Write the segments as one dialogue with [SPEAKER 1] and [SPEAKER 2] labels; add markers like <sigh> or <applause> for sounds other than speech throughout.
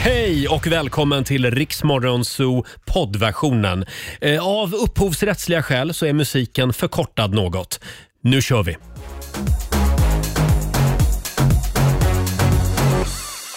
[SPEAKER 1] Hej och välkommen till Riksmorgon Zoo poddversionen. Eh, Av upphovsrättsliga skäl så är musiken förkortad något. Nu kör vi!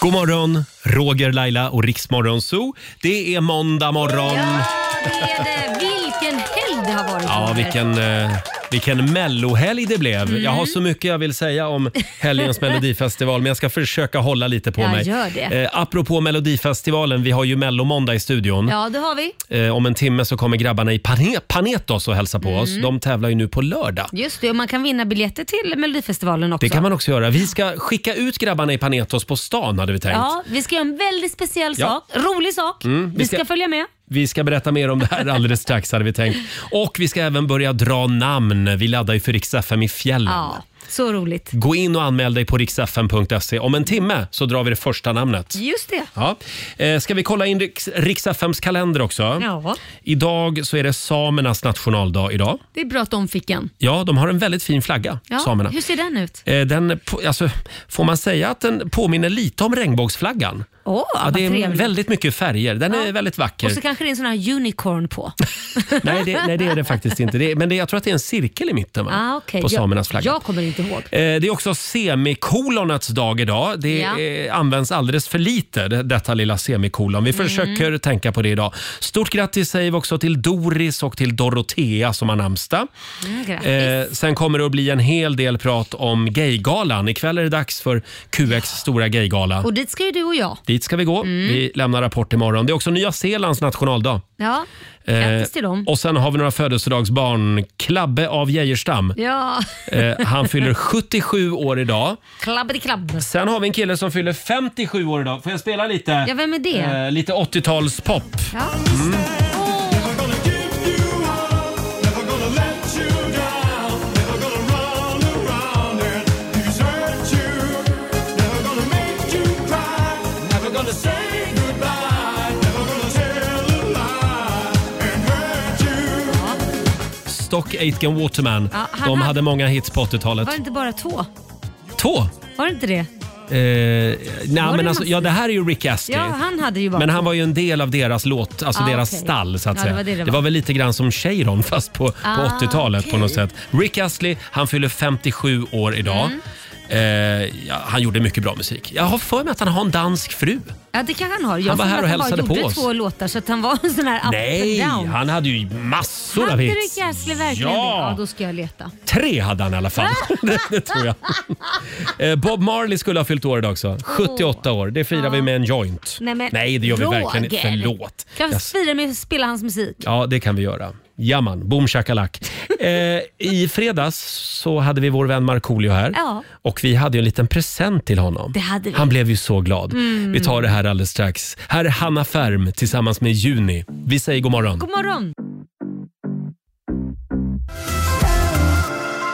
[SPEAKER 1] God morgon, Roger, Laila och Riksmorgon Zoo. Det är måndag morgon.
[SPEAKER 2] Det är det. Vilken helg det har varit.
[SPEAKER 1] Ja,
[SPEAKER 2] Roger.
[SPEAKER 1] vilken, eh, vilken mellohelg det blev.
[SPEAKER 2] Mm.
[SPEAKER 1] Jag har så mycket jag vill säga om helgens melodifestival men jag ska försöka hålla lite på
[SPEAKER 2] Ja,
[SPEAKER 1] mig.
[SPEAKER 2] gör det.
[SPEAKER 1] Eh, apropå melodifestivalen, vi har ju mellomåndag i studion.
[SPEAKER 2] Ja, det har vi.
[SPEAKER 1] Eh, om en timme så kommer grabbarna i Pane- Panetos och hälsa på
[SPEAKER 2] Mm.
[SPEAKER 1] oss. De tävlar ju nu på lördag.
[SPEAKER 2] Just det, och man kan vinna biljetter till Melodifestivalen också.
[SPEAKER 1] Det kan man också göra. Vi ska skicka ut grabbarna i Panetos på stan hade vi tänkt.
[SPEAKER 2] Ja, vi ska göra en väldigt speciell
[SPEAKER 1] Ja. Mm,
[SPEAKER 2] sak. Rolig sak.
[SPEAKER 1] vi
[SPEAKER 2] vi, ska...
[SPEAKER 1] ska-
[SPEAKER 2] följa med.
[SPEAKER 1] Vi ska berätta mer om det här alldeles strax hade vi tänkt. Och vi ska även börja dra namn. Vi laddar ju för Rix FM i fjällen.
[SPEAKER 2] Ja, så roligt.
[SPEAKER 1] Gå in och anmäl dig på riksfm.se. Om en timme så drar vi det första namnet.
[SPEAKER 2] Just det.
[SPEAKER 1] Ja. Eh, Ska vi kolla in Riks- Riks-FMs kalender också?
[SPEAKER 2] Ja,
[SPEAKER 1] Idag så är det samernas nationaldag idag.
[SPEAKER 2] det är bra att de fick en.
[SPEAKER 1] Ja, de har en väldigt fin flagga,
[SPEAKER 2] Ja,
[SPEAKER 1] samerna.
[SPEAKER 2] Hur ser den ut?
[SPEAKER 1] Eh, Den, på- alltså, får man säga att den påminner lite om regnbågsflaggan?
[SPEAKER 2] Åh,
[SPEAKER 1] Ja,
[SPEAKER 2] vad
[SPEAKER 1] det är
[SPEAKER 2] trevligt.
[SPEAKER 1] väldigt mycket färger. Den är väldigt vacker.
[SPEAKER 2] Och så kanske det är en sån här unicorn på.
[SPEAKER 1] <laughs> nej, det, nej, det är det faktiskt inte. Det är, men det, jag tror att det är en cirkel i mitten va?
[SPEAKER 2] ah, okay.
[SPEAKER 1] på samernas flagga.
[SPEAKER 2] Jag, jag kommer inte ihåg.
[SPEAKER 1] Eh, Det är också semikolonets dag idag. Det
[SPEAKER 2] Ja.
[SPEAKER 1] eh, används alldeles för lite, det- detta lilla semikolon. Vi
[SPEAKER 2] Mm.
[SPEAKER 1] försöker tänka på det idag. Stort grattis säger vi också till Doris och till Dorotea som har namnsdag.
[SPEAKER 2] Mm, grattis.
[SPEAKER 1] Eh, sen kommer det att bli en hel del prat om Gaygalan. Ikväll är det dags för QX stora gaygala.
[SPEAKER 2] Och Mm. dit ska ju du och jag.
[SPEAKER 1] Dit ska vi gå. Vi lämnar rapport imorgon. Det är också Nya Zeelands nationaldag.
[SPEAKER 2] Ja,
[SPEAKER 1] Eh,
[SPEAKER 2] grattis till dem.
[SPEAKER 1] Och sen har vi några födelsedagsbarn. Klabbe av Geijerstam.
[SPEAKER 2] Ja, <laughs>
[SPEAKER 1] Eh, han fyller 77 år idag.
[SPEAKER 2] klabbade klabb.
[SPEAKER 1] Sen har vi en kille som fyller 57 år idag. Får jag spela lite?
[SPEAKER 2] Ja, vem är det?
[SPEAKER 1] Eh, lite 80-talspop.
[SPEAKER 2] Ja.
[SPEAKER 1] Stock Aitken Waterman.
[SPEAKER 2] Ja, han
[SPEAKER 1] De
[SPEAKER 2] hade-
[SPEAKER 1] hade många hits på
[SPEAKER 2] Var
[SPEAKER 1] 80-talet.
[SPEAKER 2] det inte bara två?
[SPEAKER 1] Två? Eh,
[SPEAKER 2] Var det inte det?
[SPEAKER 1] nej, men
[SPEAKER 2] det
[SPEAKER 1] alltså,
[SPEAKER 2] massa-
[SPEAKER 1] ja, det här är ju Rick Astley.
[SPEAKER 2] Ja, han hade ju bara
[SPEAKER 1] Men han var ju en del av deras låt, alltså
[SPEAKER 2] Ah,
[SPEAKER 1] deras
[SPEAKER 2] okej.
[SPEAKER 1] stall så att
[SPEAKER 2] Ja, det
[SPEAKER 1] säga.
[SPEAKER 2] var det det var.
[SPEAKER 1] väl lite grann som Cheiron <laughs> fast på, på
[SPEAKER 2] Ah,
[SPEAKER 1] 80-talet på något sätt. Rick Astley, han fyller 57 år idag.
[SPEAKER 2] Mm.
[SPEAKER 1] Eh, ja, han gjorde mycket bra musik. Jag har för mig att han har en dansk fru.
[SPEAKER 2] Ja, det kanske han har. Jag
[SPEAKER 1] Han var
[SPEAKER 2] tror
[SPEAKER 1] här
[SPEAKER 2] att
[SPEAKER 1] och
[SPEAKER 2] bara
[SPEAKER 1] hälsade på
[SPEAKER 2] gjorde
[SPEAKER 1] oss.
[SPEAKER 2] två låtar så att han var <laughs> en sån här up
[SPEAKER 1] Nej,
[SPEAKER 2] and down.
[SPEAKER 1] han hade ju massor av
[SPEAKER 2] Hade
[SPEAKER 1] hits.
[SPEAKER 2] Rick Astley verkligen
[SPEAKER 1] Ja.
[SPEAKER 2] det? Ja, då ska jag leta.
[SPEAKER 1] Tre hade han i alla
[SPEAKER 2] <laughs>
[SPEAKER 1] fall. <laughs> det, det tror jag. Eh, Bob Marley skulle ha fyllt år idag också. 78 år. Det firar vi med en joint.
[SPEAKER 2] Nej, men
[SPEAKER 1] det gör vi
[SPEAKER 2] Roger.
[SPEAKER 1] verkligen inte. Förlåt.
[SPEAKER 2] Kan vi
[SPEAKER 1] Jag
[SPEAKER 2] fira med att spela hans musik?
[SPEAKER 1] Ja, det kan vi göra. Jaman, boom shakalak. Eh, I fredags så hade vi vår vän Markoolio här
[SPEAKER 2] Ja.
[SPEAKER 1] och vi hade ju en liten present till honom.
[SPEAKER 2] Det hade vi. Mm.
[SPEAKER 1] Han blev ju så glad. Vi tar det här alldeles strax. Här är Hanna Färm tillsammans med Juni. Vi säger god morgon.
[SPEAKER 2] God morgon!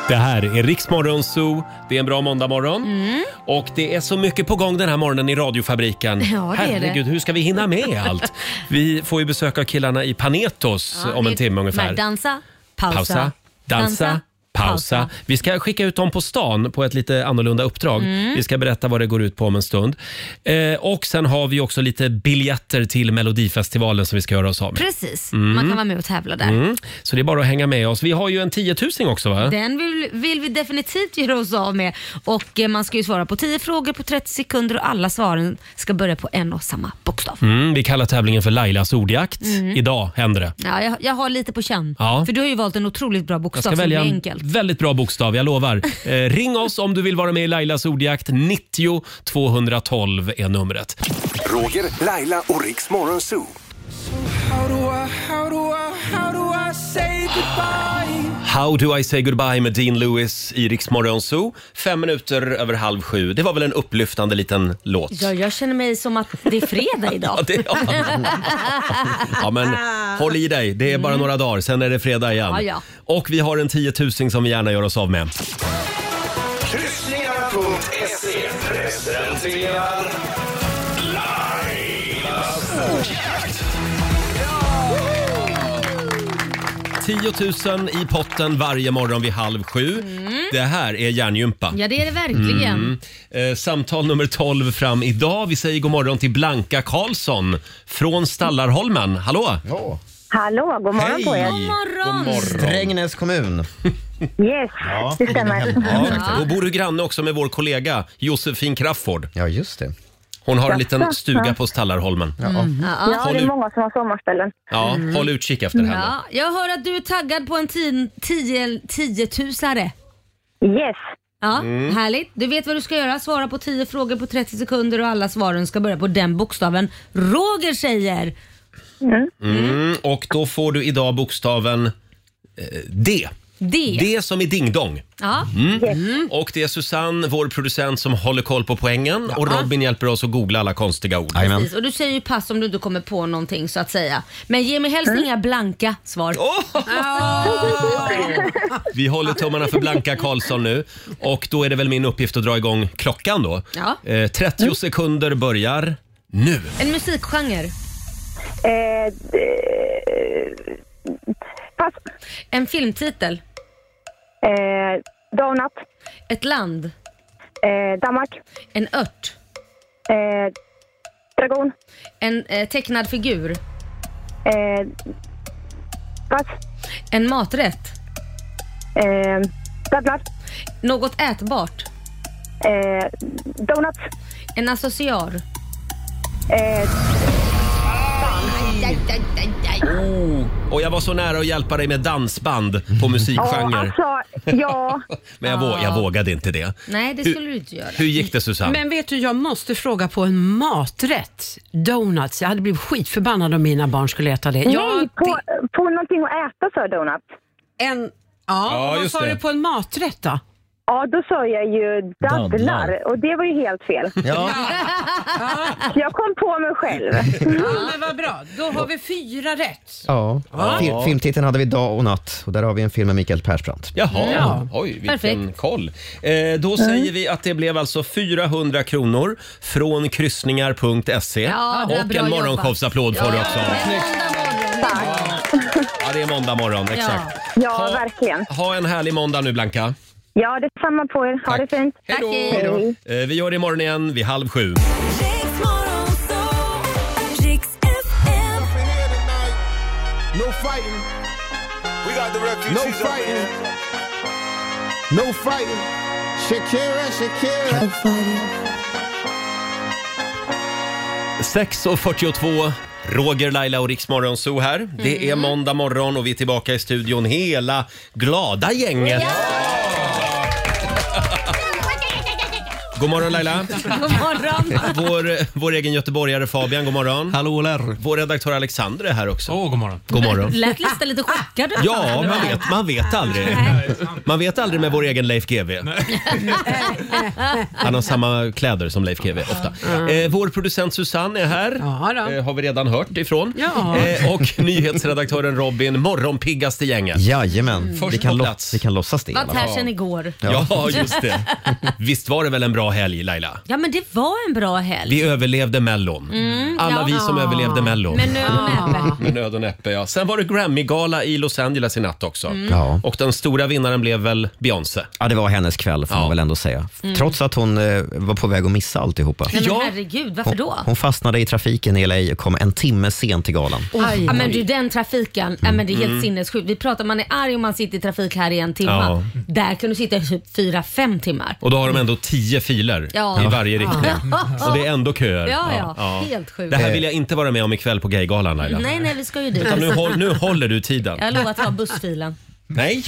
[SPEAKER 1] Det här är Riksmorgon Zoo. Det är en bra måndagmorgon.
[SPEAKER 2] Mm.
[SPEAKER 1] Och det är så mycket på gång den här morgonen i radiofabriken.
[SPEAKER 2] <laughs> Ja, det är det.
[SPEAKER 1] Herregud, hur ska vi hinna med allt? Vi får ju besök av killarna i Panetos
[SPEAKER 2] Ja,
[SPEAKER 1] om en
[SPEAKER 2] det-
[SPEAKER 1] timme ungefär.
[SPEAKER 2] Nej, Dansa, pausa,
[SPEAKER 1] pausa, dansa, pausa. Vi ska skicka ut dem på stan på ett lite annorlunda uppdrag. Vi ska berätta vad det går ut på om en stund. Eh, och sen har vi också lite biljetter till Melodifestivalen som vi ska göra oss av med.
[SPEAKER 2] Precis, man kan vara med och tävla där.
[SPEAKER 1] Mm. Så det är bara att hänga med oss. Vi har ju en tiotusing också va?
[SPEAKER 2] Den vill, vill vi definitivt göra oss av med. Och eh, Man ska ju svara på 10 frågor på 30 sekunder och alla svaren ska börja på en och samma bokstav.
[SPEAKER 1] Mm, vi kallar tävlingen för Lailas ordjakt. Idag händer det.
[SPEAKER 2] Ja, jag, jag har lite på känn.
[SPEAKER 1] Ja.
[SPEAKER 2] För du har ju valt en otroligt bra bokstav
[SPEAKER 1] Jag ska
[SPEAKER 2] som
[SPEAKER 1] välja
[SPEAKER 2] är
[SPEAKER 1] en
[SPEAKER 2] enkel.
[SPEAKER 1] väldigt bra bokstav, jag <laughs> lovar. Eh, ring oss om du vill vara med i Lailas ordjakt. 90 212 är numret.
[SPEAKER 3] Roger, Laila och Riks Morgonzoo.
[SPEAKER 1] How do I say goodbye med Dean Lewis i Rix Morgon Zoo. Fem minuter över halv sju. Det var väl en upplyftande liten låt?
[SPEAKER 2] Ja, jag känner mig som att det är fredag
[SPEAKER 1] Ja, <laughs>
[SPEAKER 2] idag.
[SPEAKER 1] det, ja.
[SPEAKER 2] <laughs>
[SPEAKER 1] ja, men håll i dig. Det är bara några dagar, sen är det fredag igen.
[SPEAKER 2] Mm. Ja, ja.
[SPEAKER 1] Och vi har en tiotusing som vi gärna gör oss av med.
[SPEAKER 4] Kryssningar.se presenterar Lailas ordjakt.
[SPEAKER 1] 10 000 i potten varje morgon vid halv sju.
[SPEAKER 2] Mm.
[SPEAKER 1] Det här är hjärngympa.
[SPEAKER 2] Ja, det är det verkligen.
[SPEAKER 1] Eh, samtal nummer 12 fram idag. Vi säger god morgon till Blanka Karlsson från Stallarholmen. Hallå!
[SPEAKER 5] Ja.
[SPEAKER 6] Hallå, god morgon på er.
[SPEAKER 1] God
[SPEAKER 2] morgon.
[SPEAKER 5] Strängnäs kommun.
[SPEAKER 6] Yes,
[SPEAKER 5] Ja,
[SPEAKER 6] det
[SPEAKER 5] min
[SPEAKER 6] stämmer.
[SPEAKER 5] hemkommun
[SPEAKER 1] Ja,
[SPEAKER 5] faktiskt.
[SPEAKER 1] då bor du granne också med vår kollega Josefin Crafoord.
[SPEAKER 5] Ja, just det.
[SPEAKER 1] Hon har en liten
[SPEAKER 6] Jaså?
[SPEAKER 1] stuga på Stallarholmen.
[SPEAKER 5] Ja.
[SPEAKER 6] Ja,
[SPEAKER 1] Håll
[SPEAKER 6] det är
[SPEAKER 1] ut.
[SPEAKER 6] många som har sommarställen.
[SPEAKER 1] Ja, håll utkik efter henne.
[SPEAKER 2] Ja, jag hör att du är taggad på en 10 tiotusare.
[SPEAKER 6] Yes,
[SPEAKER 2] Ja, härligt. Du vet vad du ska göra. Svara på 10 frågor på 30 sekunder och alla svaren ska börja på den bokstaven Roger säger.
[SPEAKER 1] Mm, och då får du idag bokstaven eh, D.
[SPEAKER 2] D.
[SPEAKER 1] D som i ding-dong.
[SPEAKER 2] Ja.
[SPEAKER 1] Och det är Susanne, vår producent, som håller koll på poängen. Och Robin hjälper oss att googla alla konstiga ord.
[SPEAKER 5] Jajamän.
[SPEAKER 2] Precis. Och du säger ju pass om du inte kommer på någonting så att säga. Men ge mig helst inga blanka svar.
[SPEAKER 1] Åh! Vi håller tummarna för Blanka Karlsson nu. Och då är det väl min uppgift att dra igång klockan då.
[SPEAKER 2] Ja. Mm.
[SPEAKER 1] Eh, 30 sekunder börjar nu.
[SPEAKER 2] En musikgenre.
[SPEAKER 6] eh, eh, pass.
[SPEAKER 2] En filmtitel.
[SPEAKER 6] Eh, donut.
[SPEAKER 2] Ett land.
[SPEAKER 6] Eh, Danmark.
[SPEAKER 2] En ört.
[SPEAKER 6] Eh, dragon.
[SPEAKER 2] En eh, tecknad figur.
[SPEAKER 6] Eh, pass.
[SPEAKER 2] En maträtt.
[SPEAKER 6] Eh, dadlar.
[SPEAKER 2] Något ätbart.
[SPEAKER 6] Eh, donuts.
[SPEAKER 2] En associar.
[SPEAKER 6] Eh,
[SPEAKER 1] Och jag var så nära att hjälpa dig med dansband på
[SPEAKER 6] ja,
[SPEAKER 2] Mm.
[SPEAKER 1] musikgenre.
[SPEAKER 6] alltså, ja.
[SPEAKER 1] Men jag, vå- jag vågade inte det.
[SPEAKER 2] Nej, det skulle du inte göra.
[SPEAKER 1] Hur gick det Susanne?
[SPEAKER 7] Men vet du, jag måste fråga på en maträtt. Donuts. Jag hade blivit skitförbannad om mina barn skulle äta det.
[SPEAKER 6] Nej,
[SPEAKER 7] Jag,
[SPEAKER 6] på, på någonting att äta sa jag donut.
[SPEAKER 7] en, ja,
[SPEAKER 1] Ja,
[SPEAKER 7] vad
[SPEAKER 1] just
[SPEAKER 7] sa
[SPEAKER 1] det.
[SPEAKER 7] du på en maträtt då?
[SPEAKER 6] Ja, då sa jag ju dadlar,
[SPEAKER 5] Dadlar.
[SPEAKER 6] och det var ju helt fel.
[SPEAKER 5] Ja,
[SPEAKER 6] Så <laughs> jag kom på mig själv.
[SPEAKER 7] Ja, men vad bra. Då har vi fyra rätt.
[SPEAKER 5] ja. Fil- filmtiteln hade vi Dag och natt och där har vi en film med Mikael Persbrandt.
[SPEAKER 1] Jaha,
[SPEAKER 7] Ja.
[SPEAKER 1] oj vilken
[SPEAKER 2] Perfekt. Mm.
[SPEAKER 1] koll. Eh, då säger vi att det blev alltså 400 kronor från kryssningar.se.
[SPEAKER 2] Ja, det var
[SPEAKER 1] och
[SPEAKER 2] bra
[SPEAKER 1] en
[SPEAKER 2] jobbat.
[SPEAKER 1] morgonshowsapplåd får du också. Ja, det är måndag morgon, exakt.
[SPEAKER 6] Ja, verkligen.
[SPEAKER 1] Ha en härlig måndag nu Blanka.
[SPEAKER 6] Ja, detsamma på er. Ha det fint.
[SPEAKER 1] Hej då.
[SPEAKER 2] Tack,
[SPEAKER 6] hej.
[SPEAKER 1] Eh, vi gör det imorgon igen vid halv sju.
[SPEAKER 8] No fighting.
[SPEAKER 4] We got the
[SPEAKER 8] No
[SPEAKER 4] refugees over
[SPEAKER 8] fighting.
[SPEAKER 4] here.
[SPEAKER 8] No fighting. Shakira, Shakira.
[SPEAKER 1] 6.42, Roger, Laila och Riksmorgon Zoo här. Det är måndag morgon och vi är tillbaka i studion, hela glada gänget. <laughs> God morgon Laila!
[SPEAKER 2] God morgon.
[SPEAKER 1] Vår, vår egen göteborgare Fabian, god morgon.
[SPEAKER 9] Hallå där!
[SPEAKER 1] Vår redaktör Alexander är här också.
[SPEAKER 9] Åh, god morgon.
[SPEAKER 1] God morgon.
[SPEAKER 2] Lät nästan lite chockad.
[SPEAKER 1] Ja, man vet, man vet aldrig. Man vet aldrig med vår egen Leif GW. Han har samma kläder som Leif GW ofta. Eh, vår producent Susanne är här.
[SPEAKER 7] Ja, då.
[SPEAKER 1] Eh, har vi redan hört ifrån.
[SPEAKER 7] Ja.
[SPEAKER 1] Eh, och nyhetsredaktören Robin, morgonpiggaste gänget.
[SPEAKER 5] Jajamän, vi,
[SPEAKER 1] Mm. Först på
[SPEAKER 5] kan lo-
[SPEAKER 1] plats.
[SPEAKER 5] vi kan låtsas det i
[SPEAKER 2] Var
[SPEAKER 5] alla fall.
[SPEAKER 2] här sedan igår.
[SPEAKER 1] Ja. just det. Visst var det väl en bra helg Laila?
[SPEAKER 2] Ja men det var en bra helg.
[SPEAKER 1] Vi överlevde Mellon. Mm, Alla
[SPEAKER 2] Mm, ja.
[SPEAKER 1] vi som överlevde Mellon.
[SPEAKER 2] Men nu ah.
[SPEAKER 1] Med nöd och näppe, ja. Sen var det Grammy-gala i Los Angeles i natt också.
[SPEAKER 5] Ja.
[SPEAKER 1] Och den stora vinnaren blev väl Beyoncé.
[SPEAKER 5] Ja, det var hennes kväll
[SPEAKER 1] Ja.
[SPEAKER 5] får
[SPEAKER 1] Mm.
[SPEAKER 5] man väl ändå säga. Trots att hon eh, var på väg att missa alltihopa.
[SPEAKER 2] Nej men
[SPEAKER 1] Ja.
[SPEAKER 2] herregud, varför då?
[SPEAKER 5] Hon fastnade i trafiken i LA och kom en timme sent till galan.
[SPEAKER 1] Eh,
[SPEAKER 7] Aj.
[SPEAKER 2] Ja, men du den trafiken, ja, men det är helt sinnessjukt. Vi pratar man är arg om man sitter i trafik här i en timme.
[SPEAKER 1] Mm. Ja.
[SPEAKER 2] Där kan du sitta i typ 4-5 timmar.
[SPEAKER 1] Och då har de ändå tio filer
[SPEAKER 2] Ja.
[SPEAKER 1] i varje riktning. Och det är ändå köer.
[SPEAKER 2] Ja, ja. Helt sjukt.
[SPEAKER 1] Det här vill jag inte vara med om ikväll på Gaygalan Laila.
[SPEAKER 2] Nej nej vi ska ju dit.
[SPEAKER 1] Utan nu, håll, nu håller du tiden.
[SPEAKER 2] Jag lovar att ta bussfilen.
[SPEAKER 1] Nej,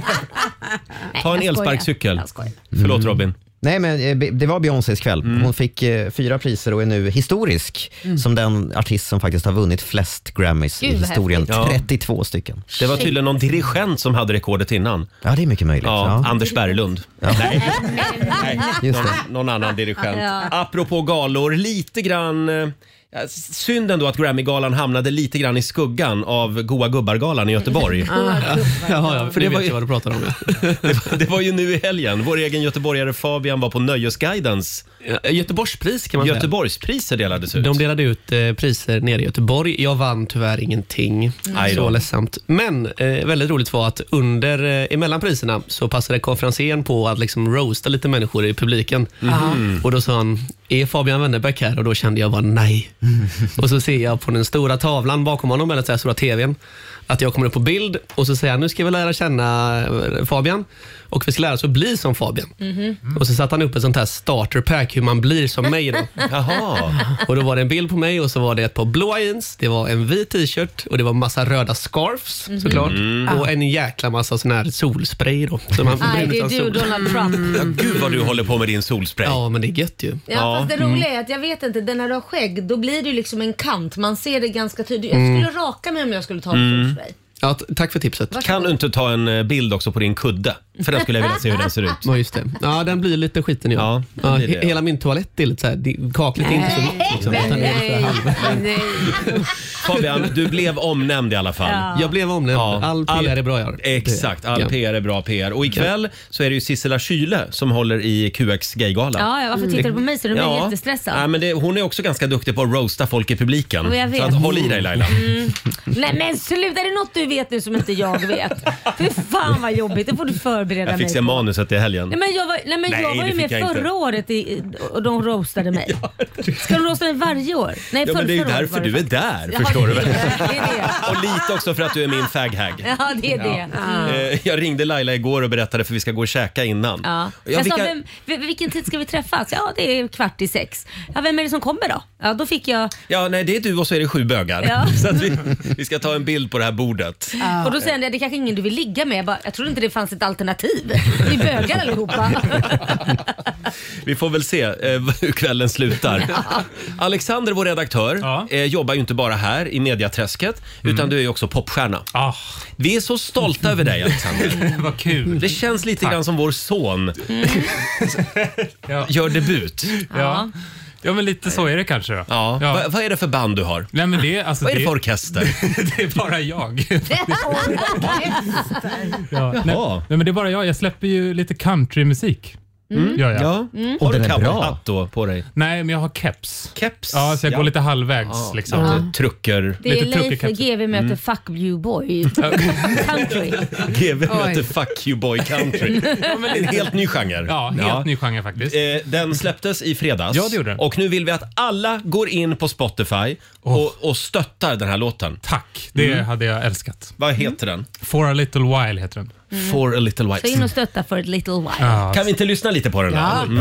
[SPEAKER 2] Nej,
[SPEAKER 1] ta en
[SPEAKER 2] jag skojar.
[SPEAKER 1] elsparkcykel.
[SPEAKER 2] Jag skojar.
[SPEAKER 1] Förlåt Robin.
[SPEAKER 5] Nej, men eh, Be- det var Beyoncés kväll. Hon fick eh, fyra priser och är nu historisk
[SPEAKER 1] Mm.
[SPEAKER 5] som den artist som faktiskt har vunnit flest Grammys
[SPEAKER 2] Gud,
[SPEAKER 5] i
[SPEAKER 2] vad
[SPEAKER 5] historien.
[SPEAKER 1] häftigt. Ja.
[SPEAKER 5] 32 stycken.
[SPEAKER 1] Det
[SPEAKER 2] Mm.
[SPEAKER 1] var tydligen någon dirigent som hade rekordet innan.
[SPEAKER 5] Ja, det är mycket möjligt.
[SPEAKER 1] Ja,
[SPEAKER 5] Ja.
[SPEAKER 1] Anders Berglund. Nej.
[SPEAKER 2] <laughs>
[SPEAKER 1] Nej.
[SPEAKER 5] Just
[SPEAKER 1] Någon, någon annan dirigent.
[SPEAKER 2] Ja.
[SPEAKER 1] Apropå galor, lite grann eh, Ja, s- Synd ändå att Grammygalan hamnade lite grann i skuggan av Goa gubbar-galan i Göteborg.
[SPEAKER 2] Ah.
[SPEAKER 9] Jaha, ja, för
[SPEAKER 1] Det
[SPEAKER 9] det
[SPEAKER 1] var
[SPEAKER 9] vet
[SPEAKER 1] ju-
[SPEAKER 9] jag vad du pratar om. ja.
[SPEAKER 1] Det var, det var ju nu i helgen. Vår egen göteborgare Fabian var på Nöjesguidens
[SPEAKER 9] Ja, Göteborgspris kan man säga.
[SPEAKER 1] Göteborgspriser delades ut.
[SPEAKER 9] De delade ut eh, priser nere i Göteborg. Jag vann tyvärr ingenting.
[SPEAKER 1] Aj då.
[SPEAKER 9] Så ledsamt. Men eh, väldigt roligt var att under, eh, emellan priserna så passade konferensen på att liksom roasta lite människor i publiken. Och Då sa han, är Fabian Wennerberg här? Och då kände jag bara nej. och så ser jag på den stora tavlan bakom honom, eller så här stora tvn, att jag kommer upp på bild och så säger han, nu ska vi lära känna eh, Fabian och vi ska lära oss att bli som Fabian. Och så satte han upp ett sånt här starterpack hur man blir som mig. Då.
[SPEAKER 1] Jaha.
[SPEAKER 9] Och då var det en bild på mig och så var det ett par blåa jeans, det var en vit t-shirt och det var massa röda scarfs såklart. Och en jäkla massa sån här solspray då. Så man
[SPEAKER 2] Nej,
[SPEAKER 9] bränner
[SPEAKER 2] det är
[SPEAKER 9] utan
[SPEAKER 1] alltså.
[SPEAKER 2] du
[SPEAKER 9] sol.
[SPEAKER 2] Donald Trump.
[SPEAKER 1] Gud vad du håller på med din solspray.
[SPEAKER 9] Ja, men det är gött ju.
[SPEAKER 2] Ja, fast
[SPEAKER 1] Mm.
[SPEAKER 2] det roliga är att jag vet inte, den här du har skägg, då blir det ju liksom en kant. Man ser det ganska tydligt. Jag skulle
[SPEAKER 1] Mm.
[SPEAKER 2] raka mig om jag skulle ta en solspray.
[SPEAKER 9] Ja, t- tack för tipset.
[SPEAKER 1] Kan du inte ta en eh, bild också på din kudde? För den skulle jag vilja se hur den ser
[SPEAKER 9] <laughs>
[SPEAKER 1] ut.
[SPEAKER 9] Ja, just det. Ja, den blir lite skiten ja.
[SPEAKER 1] Ja,
[SPEAKER 9] ja,
[SPEAKER 1] det blir det,
[SPEAKER 9] he-
[SPEAKER 1] ja.
[SPEAKER 9] Hela min toalett är lite så här, det- kaklet är inte så vitt. Liksom, utan det är lite
[SPEAKER 7] Nej,
[SPEAKER 9] halv-
[SPEAKER 7] nej.
[SPEAKER 1] Fabian, du blev omnämnd i alla fall.
[SPEAKER 9] jag blev omnämnd.
[SPEAKER 1] Ja.
[SPEAKER 9] All PR är bra jag har.
[SPEAKER 1] Exakt, all
[SPEAKER 9] Ja.
[SPEAKER 1] PR är bra PR. Och ikväll så är det ju Sissela Kyle som håller i QX Gaygala.
[SPEAKER 2] Ja, ja, varför tittar du på mig så? Du blir jättestressad.
[SPEAKER 1] Nej, men det, hon är också ganska duktig på att roasta folk i publiken.
[SPEAKER 2] Och jag vet.
[SPEAKER 1] Så att, håll i dig Laila.
[SPEAKER 2] Nej men sluta, är det något du vet nu som inte jag vet? Fy fan vad jobbigt, det får du förbereda
[SPEAKER 1] Jag
[SPEAKER 2] mig
[SPEAKER 1] fick se
[SPEAKER 2] på.
[SPEAKER 1] manuset i helgen.
[SPEAKER 2] Nej men jag var, nej, men
[SPEAKER 1] Nej,
[SPEAKER 2] jag var
[SPEAKER 1] det
[SPEAKER 2] ju
[SPEAKER 1] fick
[SPEAKER 2] med
[SPEAKER 1] jag inte.
[SPEAKER 2] förra året i, och de
[SPEAKER 1] <laughs>
[SPEAKER 2] roastade mig. Ska de roasta mig varje år? Nej,
[SPEAKER 1] Ja,
[SPEAKER 2] förrförra
[SPEAKER 1] men det är ju
[SPEAKER 2] året
[SPEAKER 1] därför
[SPEAKER 2] var det
[SPEAKER 1] du är
[SPEAKER 2] faktiskt.
[SPEAKER 1] där,
[SPEAKER 2] Ja,
[SPEAKER 1] förstår
[SPEAKER 2] <laughs>
[SPEAKER 1] du väl?
[SPEAKER 2] det är det. Det är det.
[SPEAKER 1] Och lite också för att du är min faghag.
[SPEAKER 2] Ja, det är det. Mm.
[SPEAKER 1] Eh, Jag ringde Laila igår och berättade för vi ska gå och käka innan.
[SPEAKER 2] Ja.
[SPEAKER 1] Ja,
[SPEAKER 2] jag
[SPEAKER 1] vilka-
[SPEAKER 2] sa, vem, vil- vilken tid ska vi träffas? Ja, det är kvart i sex. Ja, vem är det som kommer då? Ja, då fick jag...
[SPEAKER 1] ja, nej det är du och så är det sju bögar.
[SPEAKER 2] Ja.
[SPEAKER 1] <laughs> Så att vi, vi ska ta en bild på det här bordet.
[SPEAKER 2] Och då säger jag, det är kanske ingen du vill ligga med. Jag, bara, jag trodde inte det fanns ett alternativ. Vi bögar allihopa.
[SPEAKER 1] Vi får väl se eh, <laughs> hur kvällen slutar. Alexander, vår redaktör,
[SPEAKER 10] Ja. Mm.
[SPEAKER 1] eh, jobbar ju inte bara här i mediaträsket, utan du är ju också popstjärna.
[SPEAKER 10] Ah,
[SPEAKER 1] Vi är så stolta över dig, Alexander.
[SPEAKER 10] <laughs> vad kul. Mm.
[SPEAKER 1] Det känns lite grann som vår son <laughs>
[SPEAKER 10] Ja.
[SPEAKER 1] gör debut.
[SPEAKER 10] Ja. ja, men lite så är det kanske då.
[SPEAKER 1] Ja. Va, vad är det för band du har?
[SPEAKER 10] Nej, men det, alltså,
[SPEAKER 1] Vad är det
[SPEAKER 10] det,
[SPEAKER 1] för
[SPEAKER 10] <laughs>
[SPEAKER 1] orkester?
[SPEAKER 10] det är bara <laughs> jag. ja. Nej,
[SPEAKER 1] Jaha.
[SPEAKER 10] nej, men det är bara jag. Jag släpper ju lite countrymusik. Gör jag.
[SPEAKER 1] Mm. Ja. Har du cowboyhatt då på dig?
[SPEAKER 10] Nej, men jag har keps.
[SPEAKER 1] Keps?
[SPEAKER 10] Ja, så jag
[SPEAKER 1] Ja.
[SPEAKER 10] går lite halvvägs liksom.
[SPEAKER 1] Lite Trucker.
[SPEAKER 2] Det är
[SPEAKER 10] Lite
[SPEAKER 2] Leif
[SPEAKER 10] truckig
[SPEAKER 2] GW möter Fuck You Boy.
[SPEAKER 1] Mm.
[SPEAKER 2] Country.
[SPEAKER 1] <laughs> GW
[SPEAKER 7] Oj.
[SPEAKER 1] möter Fuck You Boy
[SPEAKER 10] <laughs>
[SPEAKER 1] Country. En helt ny genre.
[SPEAKER 10] Ja, helt ny genre faktiskt.
[SPEAKER 1] Eh, Den släpptes i fredags.
[SPEAKER 10] Ja, det gjorde den. Oh.
[SPEAKER 1] Och nu vill vi att alla går in på Spotify och, och stöttar den här låten.
[SPEAKER 10] Tack, det
[SPEAKER 1] Mm.
[SPEAKER 10] hade jag älskat.
[SPEAKER 1] Vad heter den?
[SPEAKER 10] For a little while heter den.
[SPEAKER 1] For a little
[SPEAKER 2] Så Mm. in
[SPEAKER 1] white.
[SPEAKER 2] och stötta för ett little while.
[SPEAKER 10] Ja,
[SPEAKER 1] Kan vi inte lyssna lite på den? här? Mm.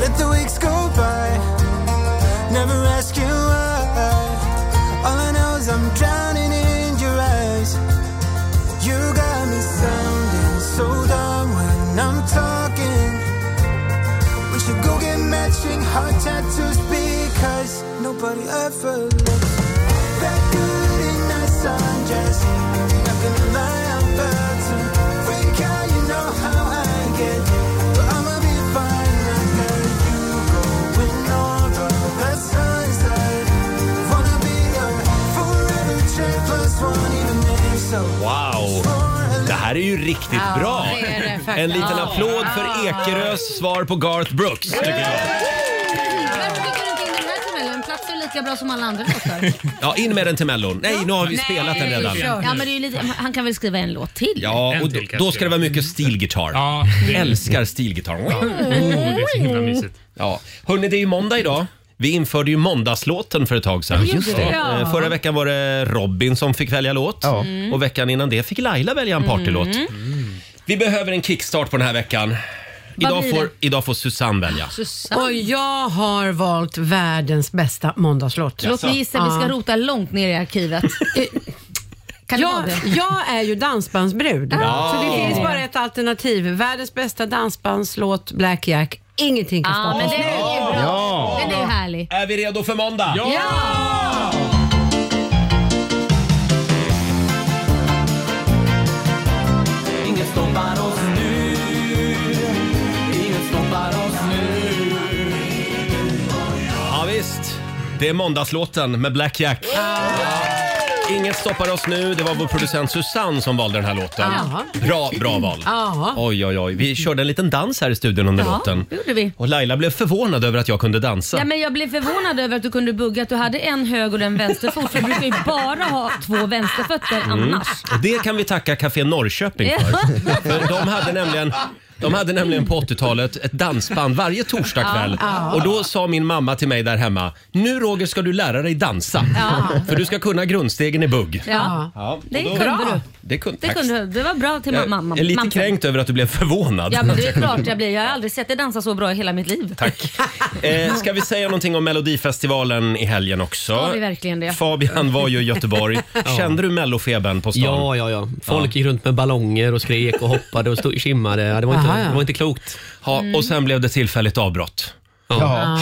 [SPEAKER 4] Let the weeks go by. Never ask you why. All I know is I'm drowning in your eyes. You got me sounding so dumb when I'm talking. We should go get matching heart tattoos because nobody ever looks that good in a sundress. Not gonna lie, I'm about to freak out. You know how I get, but I'ma be fine. I got you going over the sunset. Wanna be your forever chick plus one, even if so.
[SPEAKER 1] Wow! Det här är ju riktigt bra.
[SPEAKER 2] det är det faktiskt.
[SPEAKER 1] en liten applåd för Ekerös svar på Garth Brooks. tycker jag.
[SPEAKER 2] Varför skickar du inte in den här till mig? En plats är lika bra som alla andra låtar.
[SPEAKER 1] <laughs> Ja, in med den till Mellon. Nej, nu har vi spelat den redan.
[SPEAKER 2] Ja, men det är ju lite, han kan väl skriva en låt till?
[SPEAKER 1] Ja,
[SPEAKER 10] En
[SPEAKER 1] och
[SPEAKER 10] till
[SPEAKER 1] då-
[SPEAKER 10] kanske.
[SPEAKER 1] då ska det vara mycket stilgitarr.
[SPEAKER 10] ja det, är-
[SPEAKER 1] Älskar stilgitarr.
[SPEAKER 10] oh, det är så himla mysigt.
[SPEAKER 1] Ja. Hörni, det är ju måndag idag. Vi införde ju måndagslåten för ett tag sedan.
[SPEAKER 2] Just det. Ja.
[SPEAKER 1] Eh, Förra veckan var det Robin som fick välja låt Mm.
[SPEAKER 5] Ja.
[SPEAKER 1] och veckan innan det fick Laila välja en
[SPEAKER 2] Mm.
[SPEAKER 1] partylåt. Vi behöver en kickstart på den här veckan. Idag
[SPEAKER 2] blir
[SPEAKER 1] får,
[SPEAKER 2] det?
[SPEAKER 1] idag får Susanne välja.
[SPEAKER 2] Susanne.
[SPEAKER 7] Och jag har valt världens bästa måndagslåt.
[SPEAKER 2] Låt mig gissa, vi ska rota långt ner i arkivet. <laughs> Kan det vara
[SPEAKER 7] Jag,
[SPEAKER 2] det?
[SPEAKER 7] jag är ju dansbandsbrud, så det finns bara ett alternativ. Världens bästa dansbandslåt, Black Jack. Ingenting kan
[SPEAKER 2] Ja,
[SPEAKER 7] stoppa
[SPEAKER 2] men
[SPEAKER 7] oss.
[SPEAKER 2] den är ju bra.
[SPEAKER 5] Ja.
[SPEAKER 2] Den är ju härlig.
[SPEAKER 1] Är vi redo för måndag?
[SPEAKER 4] Ingen stoppar oss nu Ingen stoppar oss nu
[SPEAKER 1] Ja, visst. Det är måndagslåten med Black Jack. Inget stoppar oss nu. Det var vår producent Susanne som valde den här låten.
[SPEAKER 2] Ja.
[SPEAKER 1] Bra, bra val.
[SPEAKER 2] Ja.
[SPEAKER 1] Oj, oj, oj. Vi körde en liten dans här i studion under
[SPEAKER 2] Ah. Ja,
[SPEAKER 1] låten.
[SPEAKER 2] det gjorde vi.
[SPEAKER 1] Och Laila blev förvånad över att jag kunde dansa.
[SPEAKER 2] Ja, men jag blev förvånad över att du kunde bugga att du hade en höger och en vänsterfot. För du brukar ju
[SPEAKER 1] <laughs>
[SPEAKER 2] bara ha två vänsterfötter
[SPEAKER 1] Mm.
[SPEAKER 2] annars.
[SPEAKER 1] Och det kan vi tacka Café Norrköping för. för de hade nämligen de hade nämligen på 80-talet ett dansband varje torsdag kväll.
[SPEAKER 4] Ja.
[SPEAKER 1] Och då sa min mamma till mig där hemma, nu Roger ska du lära dig dansa.
[SPEAKER 2] Ja.
[SPEAKER 1] För du ska kunna grundstegen i bugg.
[SPEAKER 2] Ja.
[SPEAKER 1] Ja,
[SPEAKER 2] Det
[SPEAKER 1] och då-
[SPEAKER 2] kunde du.
[SPEAKER 1] Det kunde,
[SPEAKER 2] Det, kunde, du. det var bra till
[SPEAKER 1] Jag
[SPEAKER 2] mamma.
[SPEAKER 1] är lite
[SPEAKER 2] mamma.
[SPEAKER 1] kränkt över att du blev förvånad.
[SPEAKER 2] Ja, men det är klart jag blir. Jag har aldrig sett dig dansa så bra i hela mitt liv.
[SPEAKER 1] Tack. Eh, ska vi säga någonting om Melodifestivalen i helgen också?
[SPEAKER 2] Har vi verkligen det?
[SPEAKER 1] Fabian var ju i
[SPEAKER 2] <laughs>
[SPEAKER 1] Göteborg. Kände du mellofebern på stan?
[SPEAKER 9] Ja, ja, ja. Folk gick runt med ballonger och skrek och hoppade och stod, kimmade. Ja, Det var inte,
[SPEAKER 1] Aha, ja.
[SPEAKER 9] det var inte klokt.
[SPEAKER 1] Ja,
[SPEAKER 2] Mm.
[SPEAKER 1] och sen blev det tillfälligt avbrott.
[SPEAKER 5] Ja.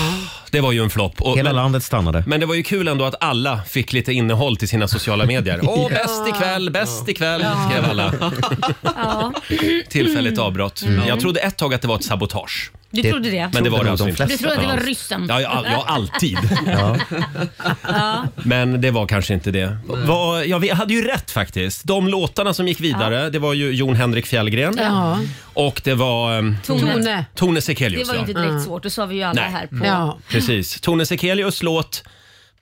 [SPEAKER 1] Det var ju en flopp. Och-
[SPEAKER 5] Hela
[SPEAKER 1] men-
[SPEAKER 5] landet stannade.
[SPEAKER 1] Men det var ju kul ändå att alla fick lite innehåll till sina sociala
[SPEAKER 9] <laughs>
[SPEAKER 1] medier. Åh, bäst ikväll, bäst ikväll, skrev alla.
[SPEAKER 2] <laughs> Ja. Mm.
[SPEAKER 1] Tillfälligt avbrott. Jag trodde ett tag att det var ett sabotage.
[SPEAKER 2] Du trodde det?
[SPEAKER 1] Men det var det
[SPEAKER 5] nog
[SPEAKER 1] alltså
[SPEAKER 5] de
[SPEAKER 1] inte.
[SPEAKER 2] Du trodde att det var
[SPEAKER 1] Ja.
[SPEAKER 2] ryssen?
[SPEAKER 1] Ja, ja, ja alltid.
[SPEAKER 2] <laughs> Ja.
[SPEAKER 1] Men det var kanske inte det. Vad- ja, vi hade ju rätt faktiskt. De låtarna som gick vidare, det var ju Jon Henrik Fjällgren.
[SPEAKER 7] Ja.
[SPEAKER 1] Och det var... ehm,
[SPEAKER 2] Tone. Mm.
[SPEAKER 7] Tone.
[SPEAKER 1] Tone
[SPEAKER 2] Det
[SPEAKER 1] Sekelius.
[SPEAKER 2] var ju inte
[SPEAKER 1] ja.
[SPEAKER 2] direkt svårt, det sa vi ju alla
[SPEAKER 1] Nej.
[SPEAKER 2] här på.
[SPEAKER 7] Ja.
[SPEAKER 2] <laughs>
[SPEAKER 1] Precis. Tone Sekelius låt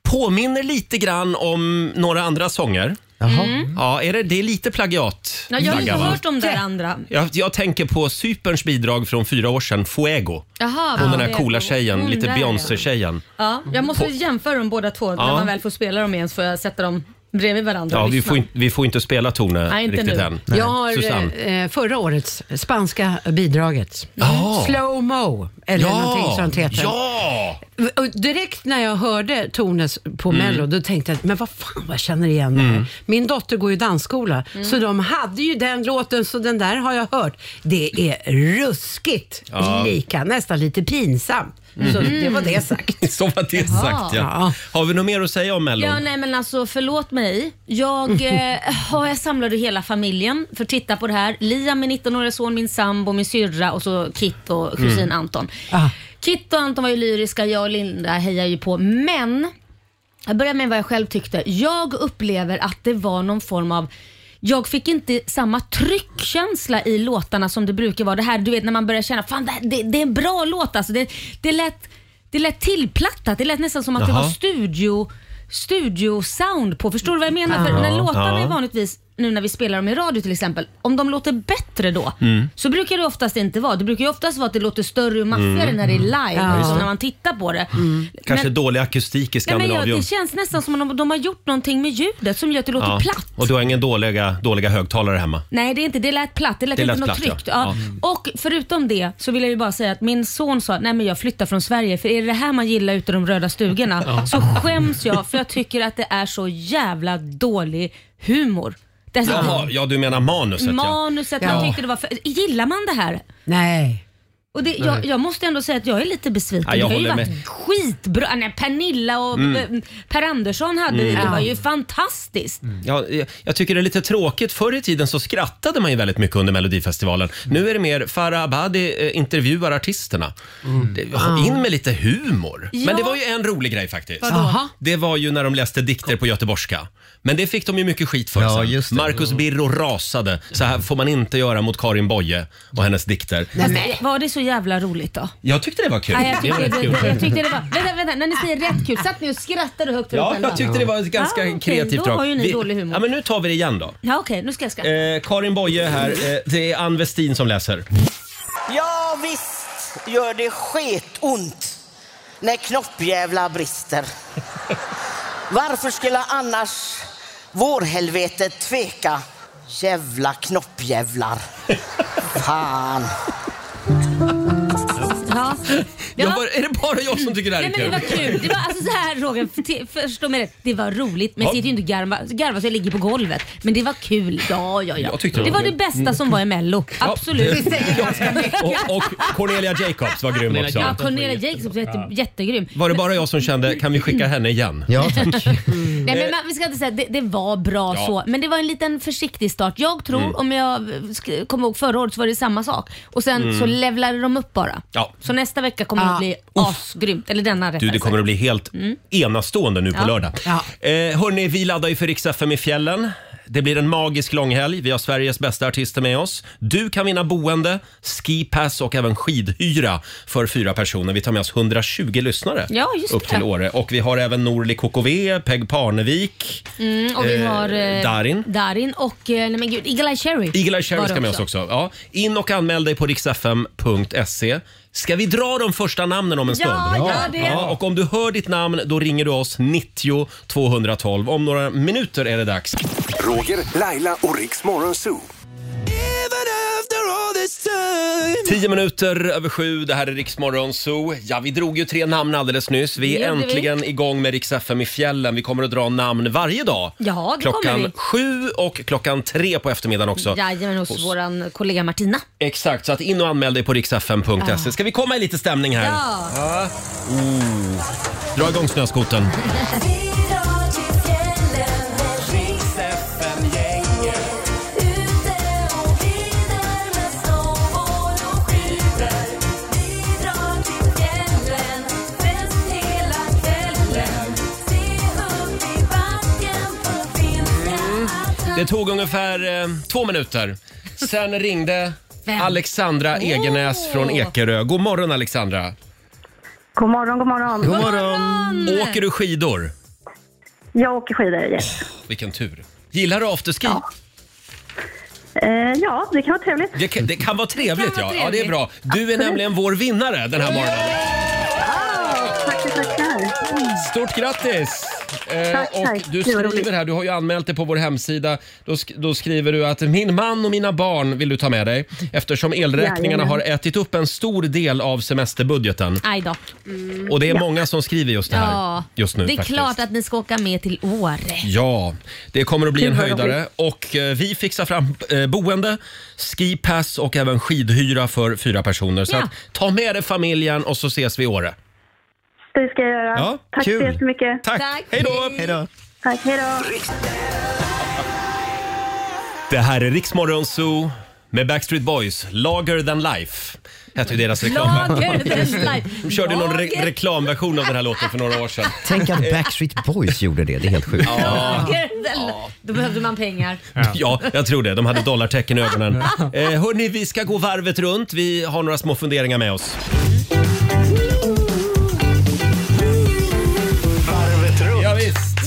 [SPEAKER 1] påminner lite grann om några andra sånger.
[SPEAKER 2] Mm.
[SPEAKER 1] Ja, är det, det är lite plagiat.
[SPEAKER 2] Ja, jag har inte
[SPEAKER 1] Tagga, va?
[SPEAKER 2] hört de där andra.
[SPEAKER 1] jag, jag tänker på Cyperns bidrag från fyra år sedan, Fuego.
[SPEAKER 2] Jaha,
[SPEAKER 1] Hon
[SPEAKER 2] vad
[SPEAKER 1] den
[SPEAKER 2] det
[SPEAKER 1] här
[SPEAKER 2] är.
[SPEAKER 1] coola tjejen,
[SPEAKER 2] Hon
[SPEAKER 1] lite
[SPEAKER 2] där, ja.
[SPEAKER 1] Beyoncé-tjejen.
[SPEAKER 2] Ja, jag måste
[SPEAKER 1] På-
[SPEAKER 2] jämföra dem båda två. När
[SPEAKER 1] Ja.
[SPEAKER 2] man väl får spela dem igen så får jag sätta dem bredvid varandra
[SPEAKER 1] Ja,
[SPEAKER 2] och
[SPEAKER 1] vi,
[SPEAKER 2] lyssna.
[SPEAKER 1] får in, vi får inte spela Tone
[SPEAKER 2] Nej, inte
[SPEAKER 1] riktigt
[SPEAKER 2] nu.
[SPEAKER 1] än.
[SPEAKER 7] Jag har
[SPEAKER 1] Susanne.
[SPEAKER 7] eh, eh, förra årets spanska bidraget.
[SPEAKER 1] Ja.
[SPEAKER 7] Slow-mo, eller
[SPEAKER 1] Ja.
[SPEAKER 7] någonting sånt heter
[SPEAKER 1] Ja! <laughs>
[SPEAKER 7] Och direkt när jag hörde Tones på
[SPEAKER 1] Mm.
[SPEAKER 7] Mello, då tänkte jag, men vad fan vad jag känner igen det här. Min dotter går ju dansskola, så de hade ju den låten, så den där har jag hört. Det är ruskigt
[SPEAKER 1] Ja.
[SPEAKER 7] lika, nästan lite pinsamt. Så
[SPEAKER 1] Mhm.
[SPEAKER 7] det var det sagt.
[SPEAKER 1] Som att det är sagt ja.
[SPEAKER 7] Ja.
[SPEAKER 1] Har vi något mer att säga om Mellon?
[SPEAKER 2] Ja, nej men alltså förlåt mig. <laughs> Jag, eh, har- jag samlade hela familjen för att titta på det här. Liam, min 19-åriga son, min sambo, min syrra och så Kit och kusin
[SPEAKER 7] Mm.
[SPEAKER 2] Anton. Kit och Anton var ju lyriska, jag och Linda hejar ju på. Men, jag börjar med vad jag själv tyckte. Jag upplever att det var någon form av jag fick inte samma tryckkänsla i låtarna som det brukar vara. Det här du vet när man börjar känna, fan det, här, det, det är en bra låt alltså. Det, det, lät, det lät tillplattat. Det lät nästan som att det
[SPEAKER 11] Jaha.
[SPEAKER 2] var studio studiosound på. Förstår du vad jag menar? För
[SPEAKER 11] Ja.
[SPEAKER 2] när låtarna
[SPEAKER 11] Ja.
[SPEAKER 2] är vanligtvis, nu när vi spelar dem i radio till exempel, om de låter bättre då
[SPEAKER 11] Mm.
[SPEAKER 2] så brukar det oftast inte vara. Det brukar ju oftast vara att det låter större och maffigare
[SPEAKER 1] Mm.
[SPEAKER 2] när det är live,
[SPEAKER 1] Ja, just
[SPEAKER 2] som
[SPEAKER 1] det.
[SPEAKER 2] när man tittar på det.
[SPEAKER 11] Mm.
[SPEAKER 1] Kanske
[SPEAKER 2] men,
[SPEAKER 1] dålig akustik i
[SPEAKER 2] nej, men
[SPEAKER 1] Skandinavium.
[SPEAKER 2] jag, Det känns nästan som om de, de har gjort någonting med ljudet som gör att det låter
[SPEAKER 1] Ja.
[SPEAKER 2] platt.
[SPEAKER 1] Och du har ingen dåliga, dåliga högtalare hemma?
[SPEAKER 2] Nej, det är inte. Det lät platt. Det lät,
[SPEAKER 1] Det lät
[SPEAKER 2] inte något
[SPEAKER 1] platt, ja. Mm.
[SPEAKER 2] tryggt.
[SPEAKER 1] Ja.
[SPEAKER 2] Ja. Och förutom det så vill jag ju bara säga att min son sa nej men jag flyttar från Sverige för är det det här man gillar ute i de
[SPEAKER 1] <laughs>
[SPEAKER 2] röda stugorna
[SPEAKER 11] Ja.
[SPEAKER 2] så skäms jag för jag tycker att det är så jävla dålig humor. Dessutom,
[SPEAKER 1] Jaha, ja du menar manuset
[SPEAKER 2] manuset,
[SPEAKER 1] ja.
[SPEAKER 2] han tyckte det var för... Gillar man det här?
[SPEAKER 7] Nej.
[SPEAKER 2] Och
[SPEAKER 1] <laughs>
[SPEAKER 2] det,
[SPEAKER 1] Nej.
[SPEAKER 2] jag, jag måste ändå säga att jag är lite besviken.
[SPEAKER 1] Ja, jag
[SPEAKER 2] det har ju
[SPEAKER 1] håller
[SPEAKER 2] varit
[SPEAKER 1] med.
[SPEAKER 2] skitbra. Nej, Pernilla och
[SPEAKER 1] Mm.
[SPEAKER 2] eh, Per Andersson hade
[SPEAKER 1] Mm.
[SPEAKER 2] det. Det var
[SPEAKER 1] Ja.
[SPEAKER 2] ju fantastiskt.
[SPEAKER 1] Ja, jag- jag tycker det är lite tråkigt. Förr i tiden så skrattade man ju väldigt mycket under Melodifestivalen. Nu är det mer Farah Abadi eh, intervjuar artisterna. Det- ha- In med lite humor.
[SPEAKER 4] Ja.
[SPEAKER 1] Men det var ju en rolig grej faktiskt.
[SPEAKER 4] Vadå? Aha.
[SPEAKER 1] Det var ju när de läste dikter på göteborgska. Men det fick de ju mycket skit för sen. Marcus Birro rasade. Så här får man inte göra mot Karin Boye och hennes dikter.
[SPEAKER 2] Fast, var det så jävla roligt då?
[SPEAKER 1] Jag tyckte det var kul.
[SPEAKER 2] Nej, jag,
[SPEAKER 1] var
[SPEAKER 2] tyckte
[SPEAKER 1] rätt
[SPEAKER 2] det,
[SPEAKER 1] kul.
[SPEAKER 2] det, jag tyckte det var... Vänta, vänta, när ni säger rätt kul, satt ni och skrattade högt till er
[SPEAKER 1] Ja,
[SPEAKER 2] själva?
[SPEAKER 1] jag tyckte det var ett ganska
[SPEAKER 2] Ah, okej,
[SPEAKER 1] kreativt
[SPEAKER 2] Då
[SPEAKER 1] drag.
[SPEAKER 2] har ju ni
[SPEAKER 1] Vi-
[SPEAKER 2] dålig humor.
[SPEAKER 1] Ja, men nu tar vi det igen då.
[SPEAKER 2] Ja, okej, nu ska jag skratta.
[SPEAKER 1] Eh, Karin Boye här. Eh, det är Ann Westin som läser.
[SPEAKER 12] Ja visst gör det sketont när knoppjävlar brister. Varför skulle annars vårhelvetet tveka? Jävla knoppjävlar. Fan.
[SPEAKER 2] Ja.
[SPEAKER 1] Jag bara- är det bara jag som tycker det här är
[SPEAKER 2] Nej, men det var kul. Det var alltså så här Roger, för- till- förstå mig rätt. Det var roligt men
[SPEAKER 1] Ja.
[SPEAKER 2] sitter ju inte och garva, garva så jag ligger på golvet. Men det var kul. Ja, ja, ja.
[SPEAKER 1] Jag tyckte det
[SPEAKER 2] det
[SPEAKER 1] var
[SPEAKER 2] var
[SPEAKER 1] kul.
[SPEAKER 2] det bästa som var i mello. Absolut.
[SPEAKER 1] det- Det säger ganska mycket. Och, och Cornelia Jacobs var grym också.
[SPEAKER 2] Ja, Cornelia Jacobs är jätte, jättegrym.
[SPEAKER 1] Var det bara jag som kände, kan vi skicka henne igen?
[SPEAKER 5] <laughs> Ja,
[SPEAKER 2] Nej, men man, vi ska inte säga att det, det var bra
[SPEAKER 1] Eh, Ja.
[SPEAKER 2] så, men det var en liten försiktig start. Jag tror,
[SPEAKER 1] Mm.
[SPEAKER 2] om jag sk- kommer ihåg förra året så var det samma sak. Och sen
[SPEAKER 1] Mm.
[SPEAKER 2] så levlade de upp bara.
[SPEAKER 1] Ja,
[SPEAKER 2] Så nästa vecka kommer det att bli asgrymt. Eller denna
[SPEAKER 1] Du,
[SPEAKER 2] rättare
[SPEAKER 1] det kommer att bli helt
[SPEAKER 2] Mm.
[SPEAKER 1] enastående nu
[SPEAKER 2] Ja.
[SPEAKER 1] på lördag. Eh, hörni, vi laddar ju för Rix FM i fjällen. Det blir en magisk långhelg. Vi har Sveriges bästa artister med oss. Du kan vinna boende, skipass och även skidhyra för fyra personer. Vi tar med oss 120 lyssnare
[SPEAKER 2] Ja, just
[SPEAKER 1] upp
[SPEAKER 2] det.
[SPEAKER 1] till Åre. Och vi har även Norli KKV, Peg Parnevik,
[SPEAKER 2] Mm, och vi
[SPEAKER 1] Eh,
[SPEAKER 2] har eh,
[SPEAKER 1] Darin.
[SPEAKER 2] Darin och eh, nej men gud, Eagle Eye Cherry.
[SPEAKER 1] Eagle Eye Cherry
[SPEAKER 2] var
[SPEAKER 1] ska
[SPEAKER 2] det
[SPEAKER 1] med oss också. Ja, in och anmäl dig på riksfm.se. Ska vi dra de första namnen om en
[SPEAKER 2] Ja,
[SPEAKER 1] stund?
[SPEAKER 2] gör det.
[SPEAKER 1] och om du hör ditt namn, då ringer du oss 90 212. Om några minuter är det dags.
[SPEAKER 3] Roger, Laila och Riks Morgonzoo.
[SPEAKER 1] Tio minuter över sju, det här är Riksmorgon Zoo. Ja, vi drog ju tre namn alldeles nyss. Vi
[SPEAKER 2] Det
[SPEAKER 1] är
[SPEAKER 2] gjorde vi.
[SPEAKER 1] äntligen igång med Rix FM i fjällen. Vi kommer att dra namn varje dag.
[SPEAKER 2] Ja, det kommer vi.
[SPEAKER 1] klockan sju och klockan tre på eftermiddagen också.
[SPEAKER 2] Jajamän, hos,
[SPEAKER 1] Hos-
[SPEAKER 2] vår kollega Martina.
[SPEAKER 1] Exakt, så att in och anmäl dig på riksfm.se.
[SPEAKER 2] Ja.
[SPEAKER 1] Ska vi komma i lite stämning här?
[SPEAKER 2] Ja.
[SPEAKER 1] Oh. Dra igång snöskoten.
[SPEAKER 2] Mm.
[SPEAKER 1] Det tog ungefär eh, två minuter. Sen ringde
[SPEAKER 2] Vem?
[SPEAKER 1] Alexandra Egenäs från Ekerö. God morgon Alexandra.
[SPEAKER 6] God morgon, god morgon.
[SPEAKER 1] Åker du skidor?
[SPEAKER 6] Jag åker skidor, yes.
[SPEAKER 1] Vilken tur. Gillar du afterski?
[SPEAKER 6] Eh, ja, det kan vara trevligt.
[SPEAKER 1] Det, kan, det kan vara trevligt ja. ja. Det är
[SPEAKER 6] trevligt.
[SPEAKER 1] bra. Du är nämligen vår vinnare den här morgonen.
[SPEAKER 6] Tackar, tackar. Mm.
[SPEAKER 1] Stort grattis! Eh,
[SPEAKER 6] Tack,
[SPEAKER 1] och
[SPEAKER 6] tack.
[SPEAKER 1] du
[SPEAKER 6] Det var
[SPEAKER 1] skriver här, du har ju anmält dig på vår hemsida. Då, sk- då skriver du att min man och mina barn vill du ta med dig eftersom elräkningarna
[SPEAKER 2] Jajamän.
[SPEAKER 1] har ätit upp en stor del av semesterbudgeten.
[SPEAKER 2] Aj då. Mm.
[SPEAKER 1] Och det är många som skriver just det här
[SPEAKER 2] Ja.
[SPEAKER 1] just nu
[SPEAKER 2] det är
[SPEAKER 1] faktiskt.
[SPEAKER 2] klart att ni ska åka med till Åre.
[SPEAKER 1] Ja, det kommer att bli
[SPEAKER 2] Gud,
[SPEAKER 1] en
[SPEAKER 2] vad
[SPEAKER 1] höjdare
[SPEAKER 2] roligt.
[SPEAKER 1] och eh, vi fixar fram eh, boende, skipass och även skidhyra för fyra personer. Så
[SPEAKER 6] Ja.
[SPEAKER 1] att, ta med dig familjen och så ses vi i Åre.
[SPEAKER 6] Det ska jag göra.
[SPEAKER 1] Ja,
[SPEAKER 6] Tack
[SPEAKER 1] kul.
[SPEAKER 6] så jättemycket.
[SPEAKER 1] Tack. Hej då. Hej då.
[SPEAKER 6] Tack, hej då.
[SPEAKER 1] Det här är Riksmorgon Zoo med Backstreet Boys, Lager than life. Hette ju deras reklam.
[SPEAKER 2] Lager
[SPEAKER 1] <laughs>
[SPEAKER 2] than life.
[SPEAKER 1] De körde någon re
[SPEAKER 2] Lager.
[SPEAKER 1] reklamversion av den här låten för några år sedan.
[SPEAKER 5] Tänk att Backstreet Boys gjorde det, det är helt sjukt.
[SPEAKER 1] Ja.
[SPEAKER 2] Då behövde man pengar.
[SPEAKER 1] <laughs> Ja, jag tror det. De hade dollartecken i ögonen. Eh, hörni, vi ska gå varvet runt. Vi har några små funderingar med oss. Varvet runt. Ja, visst.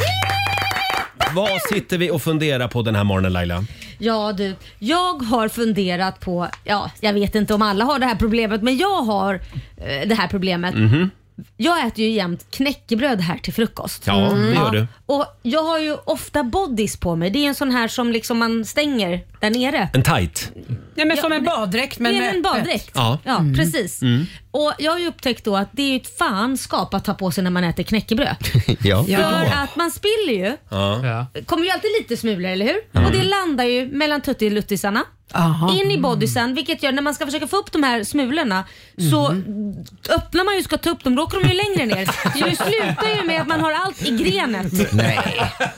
[SPEAKER 1] Vad sitter vi och funderar på den här morgonen Laila?
[SPEAKER 2] Ja du, jag har funderat på, ja jag vet inte om alla har det här problemet men jag har eh, det här problemet.
[SPEAKER 1] Mhm.
[SPEAKER 2] Jag äter ju jämt knäckebröd här till frukost. Mm.
[SPEAKER 1] Ja, det gör du.
[SPEAKER 2] Och jag har ju ofta bodys på mig. Det är en sån här som liksom man stänger där nere.
[SPEAKER 1] En tight?
[SPEAKER 2] Nej, men som en baddräkt
[SPEAKER 7] men
[SPEAKER 2] Det är en
[SPEAKER 7] öppet.
[SPEAKER 2] baddräkt.
[SPEAKER 1] Ja.
[SPEAKER 2] ja
[SPEAKER 1] eh, Mm.
[SPEAKER 2] precis.
[SPEAKER 1] Mm.
[SPEAKER 2] Och jag har ju upptäckt då att det är ju ett fanskap att ta på sig när man äter knäckebröd.
[SPEAKER 5] <laughs>
[SPEAKER 1] <laughs>
[SPEAKER 5] Ja.
[SPEAKER 2] För att man spiller ju.
[SPEAKER 1] Ja.
[SPEAKER 2] kommer ju alltid lite smulor, eller hur?
[SPEAKER 1] Mm.
[SPEAKER 2] Och det landar ju mellan tuttiluttisarna. In i bodysen, vilket gör när man ska försöka få upp de här smulorna så
[SPEAKER 1] Mhm.
[SPEAKER 2] öppnar man ju och ska ta upp dem, då åker de ju längre ner. Så det slutar ju med att man har allt i grenet.
[SPEAKER 1] Nej.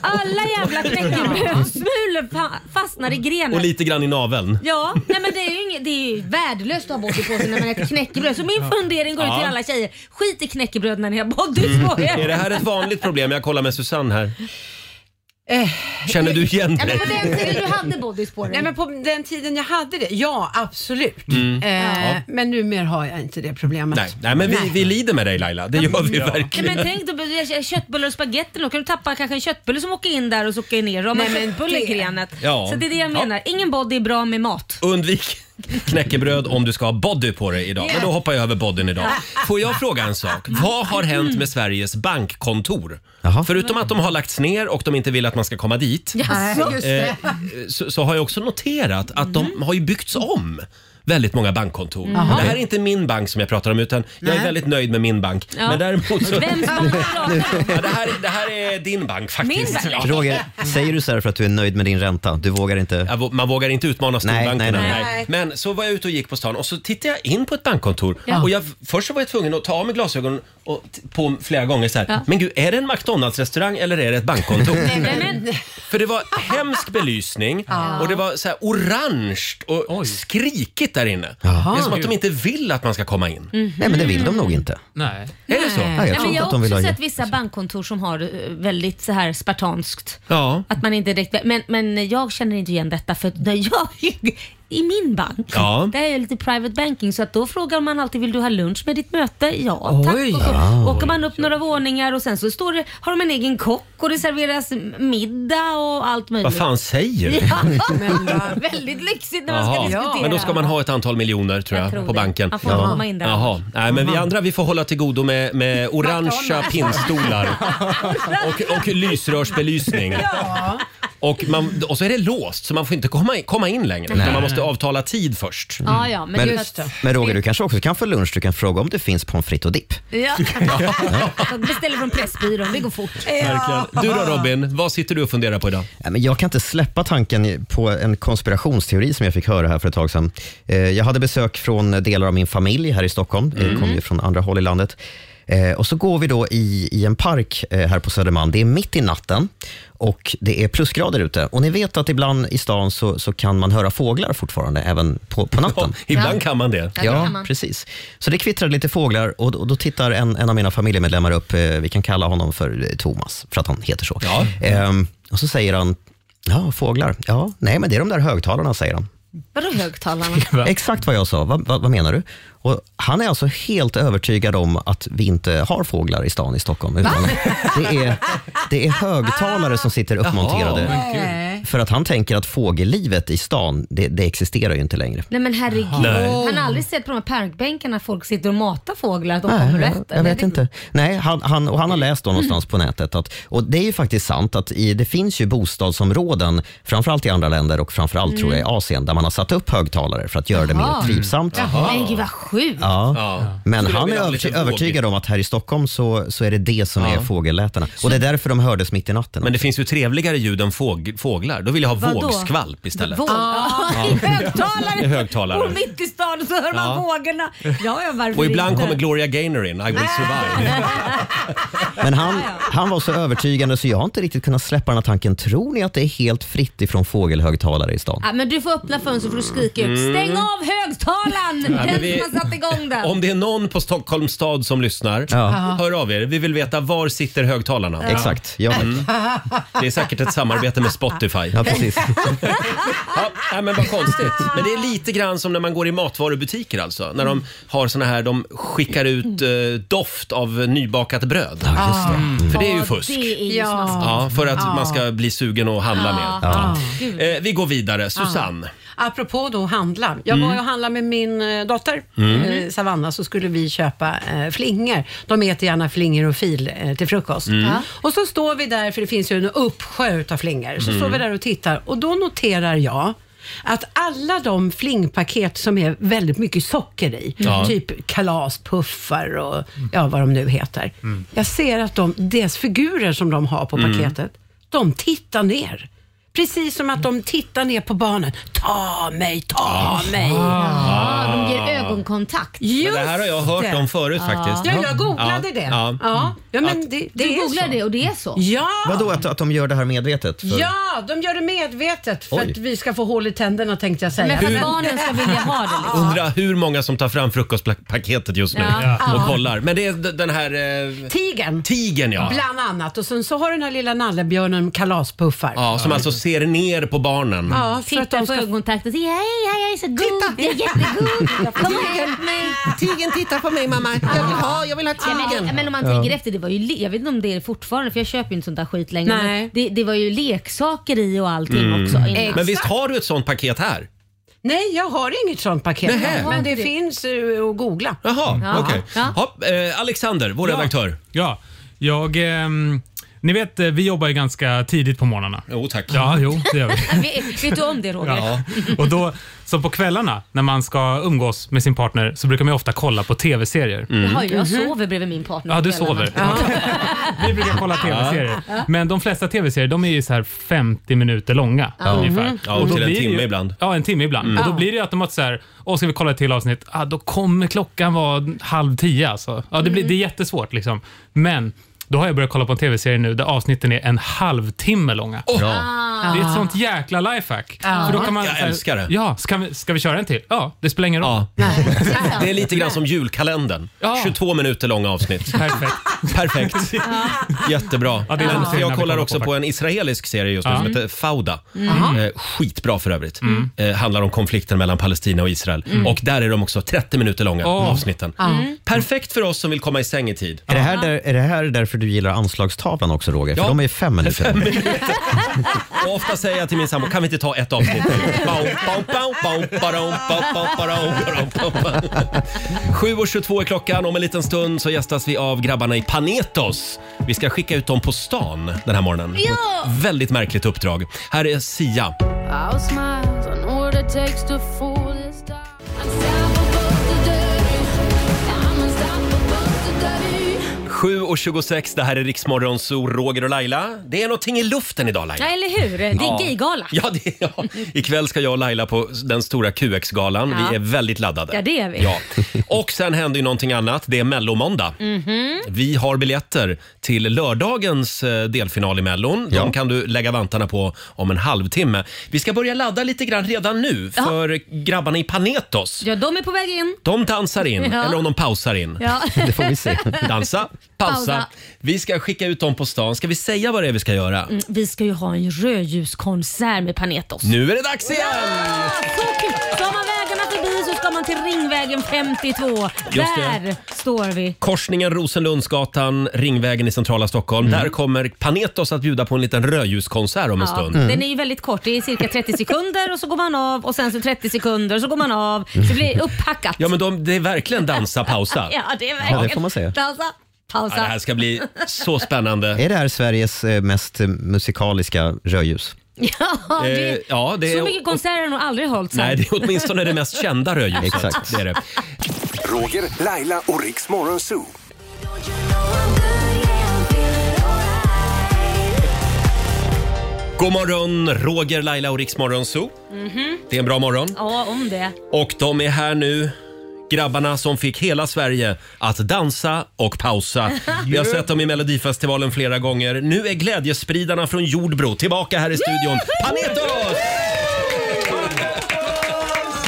[SPEAKER 2] Alla jävla knäckebrödssmulor fa- fastnar i grenet.
[SPEAKER 1] Och lite grann i naveln.
[SPEAKER 2] Ja, nej men det är ju, inget, det är ju värdelöst att ha body på sig när man äter knäckebröd. Så min fundering går ut till
[SPEAKER 1] Ja. Mm.
[SPEAKER 2] alla tjejer. Skit i knäckebröd när ni har body på er.
[SPEAKER 1] Är det här ett vanligt problem? Jag kollar med Susanne här.
[SPEAKER 7] Eh,
[SPEAKER 1] Känner du igen
[SPEAKER 7] Ja, men på den
[SPEAKER 1] dig?
[SPEAKER 7] tiden-
[SPEAKER 2] Du hade bodys på dig.
[SPEAKER 7] Nej, men på den tiden jag hade det, ja absolut.
[SPEAKER 1] Mm.
[SPEAKER 7] Eh,
[SPEAKER 1] Ja.
[SPEAKER 7] Men numera har jag inte det problemet.
[SPEAKER 1] Nej, nej men vi, vi lider med dig Laila. Det gör vi
[SPEAKER 2] Nej,
[SPEAKER 1] verkligen.
[SPEAKER 2] men tänk då, blir köttbullar och spagetti, då kan du tappa kanske en köttbulle som åker in där och så åker ner. Om
[SPEAKER 7] Nej,
[SPEAKER 2] en
[SPEAKER 7] men
[SPEAKER 2] köttbulle i
[SPEAKER 7] det-
[SPEAKER 2] grenet.
[SPEAKER 1] Ja.
[SPEAKER 2] Så det är det jag menar. Ingen body är bra med mat.
[SPEAKER 1] Undvik knäckebröd om du ska ha body på dig idag. Men då hoppar jag över bodyn idag. Får jag fråga en sak? Vad har hänt med Sveriges bankkontor? Förutom att de har lagts ner och de inte vill att man ska komma dit.
[SPEAKER 7] Jaså? Just det.
[SPEAKER 1] eh, så, så har jag också noterat att de har ju byggts om. Väldigt många bankkontor.
[SPEAKER 2] Mm. Jaha.
[SPEAKER 1] Det här är inte min bank som jag pratar om utan jag är
[SPEAKER 2] Nej.
[SPEAKER 1] väldigt nöjd med min bank.
[SPEAKER 2] Ja.
[SPEAKER 1] Men däremot så...
[SPEAKER 2] Vems bank
[SPEAKER 7] <laughs>
[SPEAKER 2] pratar du om?
[SPEAKER 1] ja, det, här, är- det här är din bank faktiskt.
[SPEAKER 2] Min bank?
[SPEAKER 1] Ja.
[SPEAKER 5] Roger, säger du så här för att du är nöjd med din ränta? Du vågar inte...
[SPEAKER 1] Man vågar inte utmana
[SPEAKER 5] nej, nej,
[SPEAKER 1] storbankerna.
[SPEAKER 5] nej.
[SPEAKER 1] Nej. Men så var jag ute och gick på stan och så tittade jag in på ett bankkontor.
[SPEAKER 5] Ja.
[SPEAKER 1] Och jag, först så var jag tvungen att ta av mig glasögonen och t- på flera gånger så här.
[SPEAKER 2] Ja.
[SPEAKER 1] Men gud, är det en McDonalds-restaurang eller är det ett bankkontor?
[SPEAKER 2] <laughs> Nej, men, men,
[SPEAKER 1] För det var hemsk belysning och det var så här orange och skrikigt tråkigt där inne.
[SPEAKER 5] Jaha.
[SPEAKER 1] Det är som att de inte vill att man ska komma in.
[SPEAKER 2] Mhm.
[SPEAKER 5] Nej, men det vill de nog inte.
[SPEAKER 1] Nej. Är det så?
[SPEAKER 2] Nej, men jag har också sett vissa bankkontor som har eh, väldigt så här spartanskt.
[SPEAKER 1] Ja.
[SPEAKER 2] Att man inte direkt, men, men jag känner inte igen detta för när jag i min bank,
[SPEAKER 1] Ja.
[SPEAKER 2] där är jag lite private banking, så att då frågar man alltid vill du ha lunch med ditt möte? Ja tack.
[SPEAKER 11] Oj.
[SPEAKER 2] Och så
[SPEAKER 11] Ja.
[SPEAKER 2] åker man upp några våningar och sen så står det, har de en egen kock och det serveras middag och allt möjligt.
[SPEAKER 1] Vad fan säger du?
[SPEAKER 2] <laughs> ja, Väldigt lyxigt när man ska
[SPEAKER 1] Jaha,
[SPEAKER 2] diskutera.
[SPEAKER 1] men då ska man ha ett antal miljoner tror jag,
[SPEAKER 2] Jag tror
[SPEAKER 1] på
[SPEAKER 2] det.
[SPEAKER 1] banken.
[SPEAKER 2] Man får komma in där Mm-hmm.
[SPEAKER 1] Jaha.
[SPEAKER 2] annars.
[SPEAKER 1] Nej, men vi andra vi får hålla till godo med, med
[SPEAKER 2] <laughs>
[SPEAKER 1] orangea pinnstolar och, och lysrörsbelysning. Och, man, och så är det låst så man får inte komma in, komma in längre.
[SPEAKER 5] Nej.
[SPEAKER 1] Utan man måste avtala tid först.
[SPEAKER 2] Ja, ja, men,
[SPEAKER 5] Men,
[SPEAKER 2] just det.
[SPEAKER 5] men Roger, du kanske också kan få lunch. Du kan fråga om det finns pommes frites och dipp.
[SPEAKER 1] <laughs>
[SPEAKER 2] Ja. Jag beställer från Pressbyrån, det går fort.
[SPEAKER 1] Verkligen. Du då Robin, vad sitter du och funderar på idag?
[SPEAKER 5] Nej, men Jag kan inte släppa tanken på en konspirationsteori som jag fick höra här för ett tag sedan. Eh, Jag hade besök från delar av min familj här i Stockholm. Mm.
[SPEAKER 13] Mm.
[SPEAKER 5] kom ju från andra håll i landet. Eh, Och så går vi då i, i en park eh, här på Södermalm. Det är mitt i natten och det är plusgrader ute. Och ni vet att ibland i stan så, så kan man höra fåglar fortfarande, även på, på natten.
[SPEAKER 1] ibland Ja. kan man det.
[SPEAKER 5] Ja,
[SPEAKER 1] Ja, det kan man.
[SPEAKER 5] precis. Så det kvittrade lite fåglar och, och då tittar en, en av mina familjemedlemmar upp. eh, Vi kan kalla honom för eh, Thomas, för att han heter så. Ehm, och så säger han, ja, fåglar. Ja, nej, men det är de där högtalarna, säger han.
[SPEAKER 2] Vadå högtalarna?
[SPEAKER 5] Exakt vad jag sa. Va, va, vad menar du? Och han är alltså helt övertygad om att vi inte har fåglar i stan i Stockholm. Utan det, är, det är högtalare som sitter uppmonterade.
[SPEAKER 2] men gud.
[SPEAKER 5] för att han tänker att fågellivet i stan, det, det existerar ju inte längre.
[SPEAKER 2] Nej men herregud.
[SPEAKER 5] Nej.
[SPEAKER 2] Han har aldrig sett på de här parkbänkarna folk sitter och matar fåglar att de
[SPEAKER 5] Nej,
[SPEAKER 2] kommer
[SPEAKER 5] jag-
[SPEAKER 2] rätt.
[SPEAKER 5] Jag vet inte. Nej, han, han, och han har läst då någonstans på nätet att, och det är ju faktiskt sant att i, det finns ju bostadsområden, framförallt i andra länder och framförallt
[SPEAKER 2] Mm.
[SPEAKER 5] tror jag i Asien, där man har satt upp högtalare för att göra det
[SPEAKER 2] Jaha.
[SPEAKER 5] mer trivsamt.
[SPEAKER 2] Jaha. Men gud vad sjukt.
[SPEAKER 5] Ja. Men
[SPEAKER 2] Skulle
[SPEAKER 5] han är
[SPEAKER 2] vilja ha
[SPEAKER 5] överty-
[SPEAKER 2] lite våg.
[SPEAKER 5] övertygad om att här i Stockholm så, så är det det som är fågellätena. Och det är därför de hördes mitt i natten.
[SPEAKER 1] Men det finns ju trevligare ljud än fåg, fåglar. Då vill jag ha
[SPEAKER 2] Vadå?
[SPEAKER 1] vågskvalp istället.
[SPEAKER 2] Våg. Ja. <laughs>
[SPEAKER 1] Ja.
[SPEAKER 2] I högtalare.
[SPEAKER 1] I högtalare.
[SPEAKER 2] Och mitt i stan så hör man
[SPEAKER 1] Ja.
[SPEAKER 2] vågorna. Ja, ja, varför
[SPEAKER 1] Och ibland
[SPEAKER 2] inte?
[SPEAKER 1] kommer Gloria Gaynor in, I will
[SPEAKER 2] Ah.
[SPEAKER 1] survive.
[SPEAKER 5] Men han, han var så övertygande så jag har inte riktigt kunnat släppa den här tanken. Tror ni att det är helt fritt ifrån fågelhögtalare i stan?
[SPEAKER 2] Ja, men du får öppna fönstret för att skrika ut.
[SPEAKER 1] Mm.
[SPEAKER 2] Stäng av högtalaren!
[SPEAKER 1] Ja, men
[SPEAKER 2] Den
[SPEAKER 1] vi-
[SPEAKER 2] som har satt igång den.
[SPEAKER 1] Om det är någon på Stockholms stad som lyssnar,
[SPEAKER 2] Ja.
[SPEAKER 1] hör av er. Vi vill veta var sitter högtalarna?
[SPEAKER 5] Ja. Exakt, ja.
[SPEAKER 1] Det är säkert ett samarbete med Spotify.
[SPEAKER 5] Ja, precis.
[SPEAKER 1] ja, nej, men vad konstigt. Men det är lite grann som när man går i matvarubutiker alltså. När de har såna här, de skickar ut eh, doft av nybakat bröd. För det är ju
[SPEAKER 2] Ja,
[SPEAKER 1] fusk.
[SPEAKER 2] Det är ju smaskigt.
[SPEAKER 1] Ja, för att
[SPEAKER 7] Ja.
[SPEAKER 1] man ska bli sugen och handla
[SPEAKER 7] Ja.
[SPEAKER 1] mer.
[SPEAKER 7] Ja.
[SPEAKER 1] Eh, vi går
[SPEAKER 7] Ah.
[SPEAKER 1] vidare. Susanne.
[SPEAKER 7] Apropå då handla. Jag
[SPEAKER 1] Mm.
[SPEAKER 7] var ju och handlade med min eh, dotter
[SPEAKER 1] Mm.
[SPEAKER 7] eh, Savanna så skulle vi köpa eh, flingor. De äter gärna flingor och fil eh, till frukost.
[SPEAKER 11] Mm. Ja.
[SPEAKER 7] Och så står vi där, för det finns ju en uppsjö av flingor. Så
[SPEAKER 11] Mm.
[SPEAKER 7] står vi där och tittar och då noterar jag att alla de flingpaket som är väldigt mycket socker i,
[SPEAKER 11] Ja.
[SPEAKER 7] typ kalaspuffar och ja, vad de nu heter.
[SPEAKER 11] Mm.
[SPEAKER 7] Jag ser att de, deras figurer som de har på
[SPEAKER 11] Mm.
[SPEAKER 7] paketet, de tittar ner. Precis som att de tittar ner på barnen. Ta mig, ta mig.
[SPEAKER 1] Ja, de ger
[SPEAKER 2] ögonkontakt.
[SPEAKER 1] Men det här har jag hört om förut faktiskt.
[SPEAKER 7] Ja, jag googlade
[SPEAKER 1] Ja.
[SPEAKER 7] det.
[SPEAKER 1] Ja. Mm.
[SPEAKER 7] Ja. Ja. men det, det
[SPEAKER 2] Du
[SPEAKER 7] är
[SPEAKER 2] googlar
[SPEAKER 7] så.
[SPEAKER 2] det och det är så?
[SPEAKER 7] Ja.
[SPEAKER 5] Vadå, att, att de gör det här medvetet? För-
[SPEAKER 7] Ja, de gör det medvetet för
[SPEAKER 1] Oj.
[SPEAKER 7] att vi ska få hål i tänderna tänkte jag säga.
[SPEAKER 1] Men för att Hur-
[SPEAKER 2] barnen
[SPEAKER 7] <laughs>
[SPEAKER 2] ska vilja ha det. liksom.
[SPEAKER 1] Undra hur många som tar fram frukostpaketet just nu
[SPEAKER 7] Ja. Ja.
[SPEAKER 1] och
[SPEAKER 7] Ja.
[SPEAKER 1] kollar. Men det är d- den här... Eh,
[SPEAKER 7] Tigen.
[SPEAKER 1] Tigen ja.
[SPEAKER 7] Bland annat. Och sen så har den här lilla nallebjörnen kalaspuffar.
[SPEAKER 1] ja. Som alltså ser ner på barnen.
[SPEAKER 7] Ja, för
[SPEAKER 2] Titta
[SPEAKER 7] att de
[SPEAKER 2] på
[SPEAKER 7] ska...
[SPEAKER 2] ögonkontakt och säger hej, hej, jag är så god, jag är jättegod. Kom och
[SPEAKER 11] Tigen.
[SPEAKER 2] hjälp mig.
[SPEAKER 11] Tigen tittar på mig mamma. Jag vill ha, jag vill ha
[SPEAKER 2] Ja, men,
[SPEAKER 11] tigen.
[SPEAKER 2] men om man
[SPEAKER 11] Ja.
[SPEAKER 2] tänker efter, det var ju, le- jag vet inte om det är fortfarande för jag köper ju inte sånt där skit längre.
[SPEAKER 7] Nej.
[SPEAKER 2] Men det, det var ju leksaker i och allting
[SPEAKER 1] Mm.
[SPEAKER 2] också. innan.
[SPEAKER 1] <laughs> Men visst har du ett sånt paket här?
[SPEAKER 7] Nej, jag har inget sånt paket.
[SPEAKER 1] Nähä.
[SPEAKER 7] Men det finns eh, att googla.
[SPEAKER 1] Jaha,
[SPEAKER 7] Ja.
[SPEAKER 1] okej.
[SPEAKER 7] Ja.
[SPEAKER 1] Hopp, eh, Alexander, vår redaktör.
[SPEAKER 10] Ja, jag... ehm, ni vet, eh, vi jobbar ju ganska tidigt på morgnarna.
[SPEAKER 1] Jo, tack.
[SPEAKER 10] Ja, jo, det gör vi.
[SPEAKER 2] vet, vet du om det Roger?
[SPEAKER 10] Ja. Och då, så på kvällarna när man ska umgås med sin partner så brukar man ju ofta kolla på tv-serier.
[SPEAKER 2] Jaha, jag sover bredvid min partner.
[SPEAKER 10] Ja, du
[SPEAKER 2] på kvällarna.
[SPEAKER 10] sover. <laughs> Vi brukar kolla tv-serier.
[SPEAKER 2] Ja.
[SPEAKER 10] Men de flesta tv-serier de är ju så här 50 minuter långa.
[SPEAKER 2] Ja.
[SPEAKER 10] Ungefär.
[SPEAKER 2] Mhm. Ja, upp
[SPEAKER 10] då
[SPEAKER 1] till en
[SPEAKER 10] blir det
[SPEAKER 1] timme
[SPEAKER 10] ju,
[SPEAKER 1] ibland.
[SPEAKER 10] Ja, en timme ibland.
[SPEAKER 1] Mm.
[SPEAKER 10] Och då
[SPEAKER 1] Ja.
[SPEAKER 10] blir det ju automatiskt så här, åh ska vi kolla ett till avsnitt? Ah, då kommer klockan vara halv tio alltså. Ja, det, blir, det är jättesvårt liksom. Men Då har jag börjat kolla på en tv-serie nu där avsnitten är en halvtimme långa.
[SPEAKER 1] Bra.
[SPEAKER 10] Det är ett sånt jäkla lifehack.
[SPEAKER 1] Ja.
[SPEAKER 10] För då kan man,
[SPEAKER 1] Jag älskar det.
[SPEAKER 10] Ja, ska vi, ska vi köra en till? Ja, det spelar ingen roll.
[SPEAKER 1] Det är lite grann som julkalendern. 22 minuter långa avsnitt.
[SPEAKER 10] Perfekt.
[SPEAKER 1] <laughs> Perfekt. Jättebra.
[SPEAKER 10] det är den
[SPEAKER 1] Men
[SPEAKER 10] serien
[SPEAKER 1] jag
[SPEAKER 10] vi
[SPEAKER 1] kollar
[SPEAKER 10] kollar
[SPEAKER 1] också
[SPEAKER 10] på,
[SPEAKER 1] på en israelisk serie just nu
[SPEAKER 10] Ja.
[SPEAKER 1] som
[SPEAKER 10] Mm.
[SPEAKER 1] heter Fauda.
[SPEAKER 10] Mm.
[SPEAKER 1] Eh, Skitbra för övrigt. Eh, Handlar om konflikten mellan Palestina och Israel.
[SPEAKER 5] Mm.
[SPEAKER 1] Och där är de också 30 minuter långa
[SPEAKER 5] Åh.
[SPEAKER 1] avsnitten.
[SPEAKER 5] Mm.
[SPEAKER 1] Perfekt för oss som vill komma i säng i tid.
[SPEAKER 5] Är det, här där, är det här därför du gillar anslagstavlan också Roger? För
[SPEAKER 1] Ja.
[SPEAKER 5] de är fem minuter.
[SPEAKER 1] Fem minuter. Och ofta säger jag till min sambo, kan vi inte ta ett avsnitt till? Bau, bau, bau, bau, barau, bau, bau, barau, barau, bau. 7.22 är klockan. Om en liten stund så gästas vi av grabbarna i Panetos. Vi ska skicka ut dem på stan den här morgonen.
[SPEAKER 4] Ja!
[SPEAKER 1] På ett väldigt märkligt uppdrag. Här är Sia.
[SPEAKER 4] Oj,
[SPEAKER 1] 7.26, det här är Riksmorgon, så Roger och Laila. Det är någonting i luften idag Laila.
[SPEAKER 2] Ja, eller hur? Det är
[SPEAKER 1] Ja.
[SPEAKER 2] gaygala.
[SPEAKER 1] Ja, det, ja. Ikväll ska jag och Laila på den stora QX-galan.
[SPEAKER 2] Ja.
[SPEAKER 1] Vi är väldigt laddade.
[SPEAKER 2] Ja, det är vi.
[SPEAKER 1] Ja. Och sen händer ju någonting annat. Det är mellomåndag.
[SPEAKER 2] Mhm.
[SPEAKER 1] Vi har biljetter till lördagens eh, delfinal i Mellon. De kan du lägga vantarna på om en halvtimme. Vi ska börja ladda lite grann redan nu
[SPEAKER 2] Ja.
[SPEAKER 1] för grabbarna i Panetos.
[SPEAKER 2] Ja, de är på väg in.
[SPEAKER 1] De dansar in,
[SPEAKER 2] Ja.
[SPEAKER 1] eller om de pausar in.
[SPEAKER 2] Ja. Det får vi se. <laughs>
[SPEAKER 1] Dansa, pausa.
[SPEAKER 2] Pausa.
[SPEAKER 1] Vi ska skicka ut dem på stan. Ska vi säga vad det är vi ska göra?
[SPEAKER 2] Mm, Vi ska ju ha en rödljuskonsert med Panetos.
[SPEAKER 1] Nu är det dags igen!
[SPEAKER 2] Ja, så kul! Ska man vägarna förbi så ska man till Ringvägen 52.
[SPEAKER 1] Just det.
[SPEAKER 2] Där står vi.
[SPEAKER 1] Korsningen Rosenlundsgatan, Ringvägen i centrala Stockholm. Där kommer Panetos att bjuda på en liten rödljuskonsert om en stund. Mm.
[SPEAKER 2] Den är ju väldigt kort, det är cirka 30 sekunder och så går man av och sen så 30 sekunder och så går man av. Så det blir upphackat.
[SPEAKER 1] Mm. Ja, men de, det är verkligen dansa, pausa.
[SPEAKER 2] <laughs> Ja, det är
[SPEAKER 1] Ja,
[SPEAKER 2] verkligen.
[SPEAKER 5] det får man säga.
[SPEAKER 2] Pausa,
[SPEAKER 1] Ja,
[SPEAKER 2] pausa.
[SPEAKER 1] det här ska bli så spännande.
[SPEAKER 5] Är det här Sveriges eh, mest eh, musikaliska rödljus?
[SPEAKER 2] Ja, det,
[SPEAKER 1] Eh, ja, det är-
[SPEAKER 2] så mycket konserter har nog aldrig hållits här.
[SPEAKER 1] Nej, det är åtminstone det mest kända rödljuset.
[SPEAKER 5] Exakt.
[SPEAKER 1] Det är det.
[SPEAKER 3] Roger, Laila och Riks Morgonzoo.
[SPEAKER 1] God morgon, Roger, Laila och Riksmorgon Zoo.
[SPEAKER 2] Mhm.
[SPEAKER 1] Det är en bra morgon.
[SPEAKER 2] Ja, om det.
[SPEAKER 1] Och de är här nu. Grabbarna som fick hela Sverige att dansa och pausa. Vi har sett dem i Melodifestivalen flera gånger. Nu är glädjespridarna från Jordbro tillbaka här i studion. Panetos!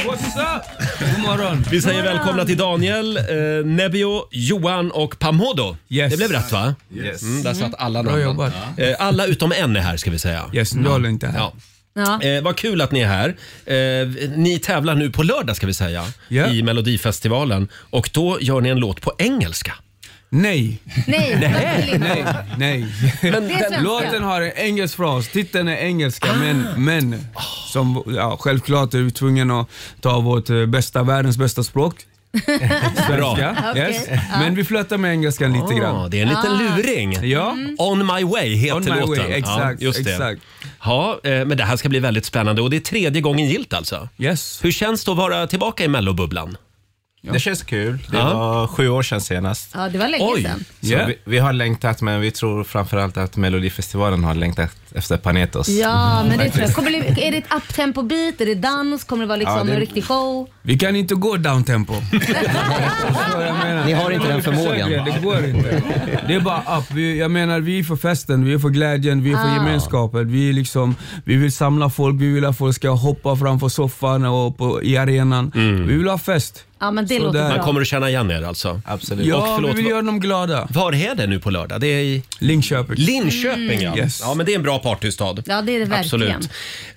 [SPEAKER 1] What's up? God morgon. Vi säger välkomna till Daniel, eh, Nebio, Johan och Pamodo. Det blev rätt va?
[SPEAKER 13] Yes.
[SPEAKER 1] Mm, där satt alla
[SPEAKER 13] Bra
[SPEAKER 1] namnen.
[SPEAKER 13] jobbat.
[SPEAKER 1] Eh, alla utom en är här ska vi säga. Yes, Noll är inte här. Ja.
[SPEAKER 2] Ja.
[SPEAKER 1] Eh, vad kul att ni är här. Eh, ni tävlar nu på lördag ska vi säga i Melodifestivalen och då gör ni en låt på engelska.
[SPEAKER 13] Nej.
[SPEAKER 2] Nej,
[SPEAKER 13] Nej, nej, nej.
[SPEAKER 2] Men Det är svenska.
[SPEAKER 13] låten har en engelsk fras, titeln är engelska
[SPEAKER 1] Ah.
[SPEAKER 13] men, men som, ja, självklart är vi tvungna att ta vårt eh, bästa, världens bästa språk.
[SPEAKER 1] <laughs>
[SPEAKER 13] Svenska,
[SPEAKER 1] Okej,
[SPEAKER 13] yes.
[SPEAKER 1] ja.
[SPEAKER 13] Men vi flörtar med engelskan lite
[SPEAKER 1] Ah,
[SPEAKER 13] grann.
[SPEAKER 1] det är en liten Ah. luring.
[SPEAKER 13] Ja.
[SPEAKER 1] On my way heter
[SPEAKER 13] On my
[SPEAKER 1] låten.
[SPEAKER 13] way, exakt,
[SPEAKER 1] ja, just det.
[SPEAKER 13] exakt.
[SPEAKER 1] Ja, eh, men det här ska bli väldigt spännande och det är tredje gången gilt alltså.
[SPEAKER 13] Yes.
[SPEAKER 1] Hur känns det att vara tillbaka i mellobubblan?
[SPEAKER 14] Det känns kul. Det
[SPEAKER 1] Ja.
[SPEAKER 14] var sju år sedan senast.
[SPEAKER 2] Ja, det var länge sedan.
[SPEAKER 14] Så
[SPEAKER 13] Yeah.
[SPEAKER 14] vi, vi har längtat, men vi tror framförallt att Melodifestivalen har längtat efter Panetos.
[SPEAKER 2] Ja, men det tror jag.
[SPEAKER 14] Faktiskt.
[SPEAKER 2] Kommer det, är det ett uptempo beat? Är det dans? Kommer det vara liksom
[SPEAKER 13] Ja, det-
[SPEAKER 2] en riktig show?
[SPEAKER 13] Vi kan inte gå downtempo. Ni har
[SPEAKER 5] inte den förmågan.
[SPEAKER 13] Det går inte. Det är bara upp. Vi, <laughs> jag menar, vi är för festen, vi är för glädjen, vi är för
[SPEAKER 5] Ah.
[SPEAKER 13] gemenskapen. Vi, är liksom, vi vill samla folk, vi vill att folk ska hoppa framför soffan och på, i arenan.
[SPEAKER 1] Mm.
[SPEAKER 14] Mm.
[SPEAKER 13] Vi vill ha fest.
[SPEAKER 2] <laughs> Ja, men det
[SPEAKER 13] Så
[SPEAKER 2] låter
[SPEAKER 13] där.
[SPEAKER 2] bra.
[SPEAKER 1] Man kommer att känna igen er alltså? Absolut.
[SPEAKER 13] Ja, vi vill göra
[SPEAKER 1] dem glada. Var är det nu på lördag? Det är i...
[SPEAKER 13] Linköping.
[SPEAKER 1] Linköping
[SPEAKER 13] Mm.
[SPEAKER 1] ja.
[SPEAKER 13] Yes.
[SPEAKER 1] Ja, men det är en bra partystad.
[SPEAKER 2] Ja, det är det verkligen.
[SPEAKER 1] Absolut.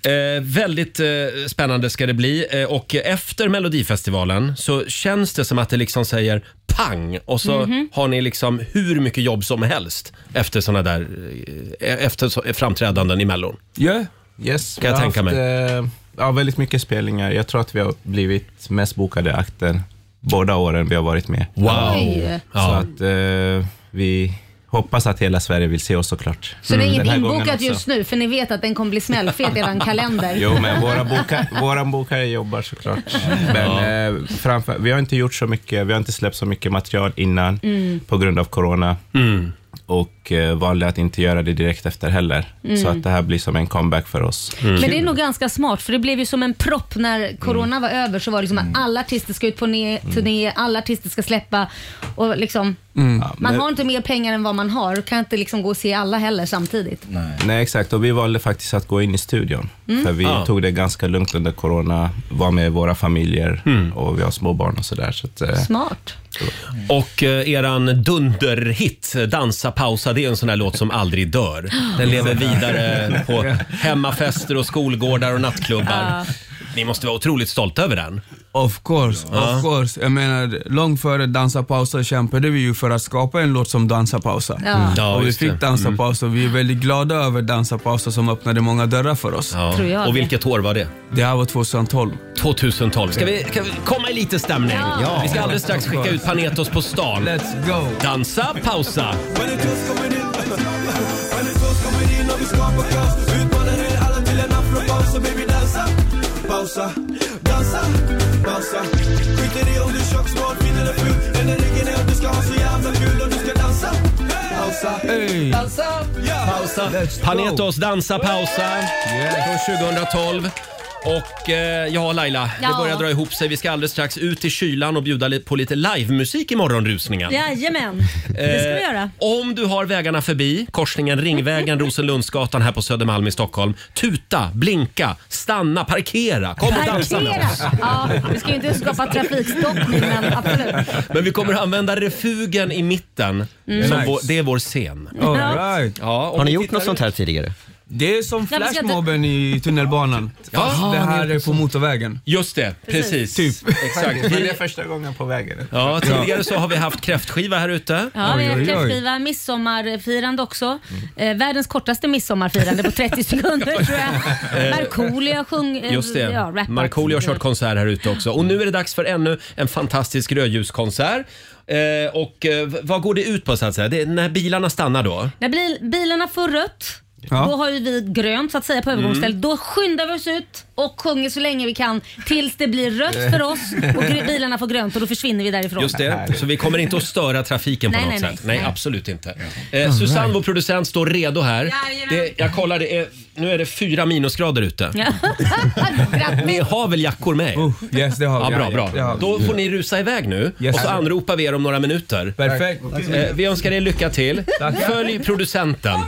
[SPEAKER 1] Eh, väldigt eh, spännande ska det bli. Eh, och efter Melodifestivalen så känns det som att det liksom säger pang och så
[SPEAKER 2] Mhm.
[SPEAKER 1] har ni liksom hur mycket jobb som helst efter såna där eh, efter så, framträdanden i Mellon.
[SPEAKER 13] Yeah.
[SPEAKER 14] Yes.
[SPEAKER 1] Kan jag
[SPEAKER 14] vi har
[SPEAKER 1] tänka
[SPEAKER 14] haft,
[SPEAKER 1] mig.
[SPEAKER 14] eh, Ja, väldigt mycket spelningar. Jag tror att vi har blivit mest bokade akten båda åren vi har varit med.
[SPEAKER 1] Wow.
[SPEAKER 2] Oj.
[SPEAKER 14] Så att eh, vi hoppas att hela Sverige vill se oss såklart.
[SPEAKER 2] Så
[SPEAKER 7] Mm,
[SPEAKER 2] det är
[SPEAKER 14] Den
[SPEAKER 2] inget
[SPEAKER 14] här gången
[SPEAKER 2] inbokat
[SPEAKER 14] också.
[SPEAKER 2] just nu för ni vet att den kommer bli smällfet i eran kalender.
[SPEAKER 14] Jo, men våra, boka, våra bokare jobbar såklart. Men eh, framför, vi har inte gjort så mycket, vi har inte släppt så mycket material innan
[SPEAKER 2] Mm.
[SPEAKER 14] på grund av corona. och eh, valde att inte göra det direkt efter heller.
[SPEAKER 2] Mm.
[SPEAKER 14] Så att det här blir som en comeback för oss.
[SPEAKER 2] Men det är nog ganska smart för det blev ju som en propp när corona var över så var det liksom att alla artister ska ut på ne- turné, alla artister ska släppa och liksom
[SPEAKER 14] Mm.
[SPEAKER 2] man har inte mer pengar än vad man har och kan inte liksom gå och se alla heller samtidigt.
[SPEAKER 14] Nej. exakt. Och vi valde faktiskt att gå in i studion.
[SPEAKER 2] Mm.
[SPEAKER 14] För vi
[SPEAKER 2] Ja.
[SPEAKER 14] tog det ganska lugnt under corona, var med våra familjer
[SPEAKER 13] Mm.
[SPEAKER 14] och vi har små barn och sådär. Så att, eh,
[SPEAKER 2] Smart.
[SPEAKER 1] Och eh, eran dunderhit, Dansa pausa, det är en sån här låt som aldrig dör. Den lever vidare på hemmafester och skolgårdar och nattklubbar.
[SPEAKER 13] Ja.
[SPEAKER 1] Ni måste vara otroligt stolta över den.
[SPEAKER 13] Of course,
[SPEAKER 1] Ja.
[SPEAKER 13] of course. Jag menar, långt före Dansa pausa kämpade vi ju för att skapa en låt som Dansa pausa.
[SPEAKER 2] Ja. Mm.
[SPEAKER 1] Ja,
[SPEAKER 13] Och vi
[SPEAKER 1] just det.
[SPEAKER 13] fick Dansa
[SPEAKER 1] Mm.
[SPEAKER 13] pausa och vi är väldigt glada över Dansa pausa som öppnade många dörrar för oss.
[SPEAKER 2] Tror jag Och det. vilket
[SPEAKER 1] år var det?
[SPEAKER 13] Det här var 2012.
[SPEAKER 1] 2012. Ska vi, kan vi komma i lite stämning?
[SPEAKER 13] Ja.
[SPEAKER 1] Vi ska alldeles strax skicka ut Panetos på stan.
[SPEAKER 13] Let's go!
[SPEAKER 1] Dansa, pausa!
[SPEAKER 4] Pausa, dansa, pausa Skiter i om du är tjock, smal, fin eller ful Den där ligger ner, du ska ha så jävla kul och du ska dansa Pausa,
[SPEAKER 1] Hey.
[SPEAKER 4] dansa,
[SPEAKER 1] pausa Panetos Dansa pausa från 2012. Och eh, ja, Laila, det
[SPEAKER 2] Ja.
[SPEAKER 1] börjar dra ihop sig. Vi ska alldeles strax ut i kylan och bjuda li- på lite livemusik i morgonrusningen.
[SPEAKER 2] Jajamän, det ska vi
[SPEAKER 1] Eh,
[SPEAKER 2] göra.
[SPEAKER 1] Om du har vägarna förbi, korsningen Ringvägen, Rosenlundsgatan här på Södermalm i Stockholm. Tuta, blinka, stanna, parkera. Kom och dansa med
[SPEAKER 2] Parkera!
[SPEAKER 1] oss.
[SPEAKER 2] Ja, vi ska ju inte skapa trafikstockning men absolut.
[SPEAKER 1] Men vi kommer att använda refugen i mitten.
[SPEAKER 2] Mm.
[SPEAKER 1] Som
[SPEAKER 2] Nice.
[SPEAKER 1] vår, det är vår scen.
[SPEAKER 13] All right.
[SPEAKER 1] Ja, om
[SPEAKER 5] Har ni
[SPEAKER 1] vi
[SPEAKER 5] gjort
[SPEAKER 1] tittar
[SPEAKER 5] något sånt
[SPEAKER 1] ut-
[SPEAKER 5] här tidigare?
[SPEAKER 13] Det är som
[SPEAKER 1] Nej, vi ska inte-
[SPEAKER 13] flashmobben i tunnelbanan.
[SPEAKER 1] Ja.
[SPEAKER 13] Fast det
[SPEAKER 1] Ah,
[SPEAKER 13] här
[SPEAKER 1] det är
[SPEAKER 13] är på motorvägen.
[SPEAKER 1] Just det, precis.
[SPEAKER 13] Typ.
[SPEAKER 1] Exakt.
[SPEAKER 14] Men det är
[SPEAKER 1] Vi,
[SPEAKER 14] första gången på vägen.
[SPEAKER 1] ja, tidigare så har vi haft kräftskiva här ute.
[SPEAKER 2] Ja, vi har kräftskiva, midsommarfirande också. Eh, världens kortaste midsommarfirande på 30 sekunder tror jag.
[SPEAKER 1] Eh,
[SPEAKER 2] Markoolio sjöng... eh,
[SPEAKER 1] Just det.
[SPEAKER 2] Ja, rappat.
[SPEAKER 1] Markoolio har kört konsert här ute också. Och nu är det dags för ännu en fantastisk rödljuskonsert. Eh, och eh, v- vad går det ut på så att säga? Det är när bilarna stannar då?
[SPEAKER 2] När bil, bilarna får rött,
[SPEAKER 1] Ja. Mm.
[SPEAKER 2] då har ju vi grönt så att säga på övergångsstället. Då skyndar vi oss ut och sjunger så länge vi kan tills det blir rött för oss och
[SPEAKER 1] <laughs>
[SPEAKER 2] gr- bilarna får grönt och då försvinner vi därifrån. <laughs>
[SPEAKER 1] Just det, så vi kommer inte att störa trafiken på
[SPEAKER 2] Nej,
[SPEAKER 1] något
[SPEAKER 2] nej, nej.
[SPEAKER 1] sätt. Nej,
[SPEAKER 2] Nej.
[SPEAKER 1] absolut inte. Eh, Susanne, vår producent, står redo här.
[SPEAKER 2] Jajamän.
[SPEAKER 1] Det, jag kollar, det är, nu är det fyra minusgrader ute.
[SPEAKER 2] Ja.
[SPEAKER 1] <laughs>
[SPEAKER 2] Grattis.
[SPEAKER 1] Ni har väl jackor med er?
[SPEAKER 13] Yes, det har
[SPEAKER 1] Ja,
[SPEAKER 13] vi.
[SPEAKER 1] bra, bra.
[SPEAKER 13] Ja, ja.
[SPEAKER 1] Då får ni rusa iväg nu och så anropar vi er om några minuter.
[SPEAKER 13] Perfekt.
[SPEAKER 1] Eh, Vi önskar er lycka till. Följ producenten.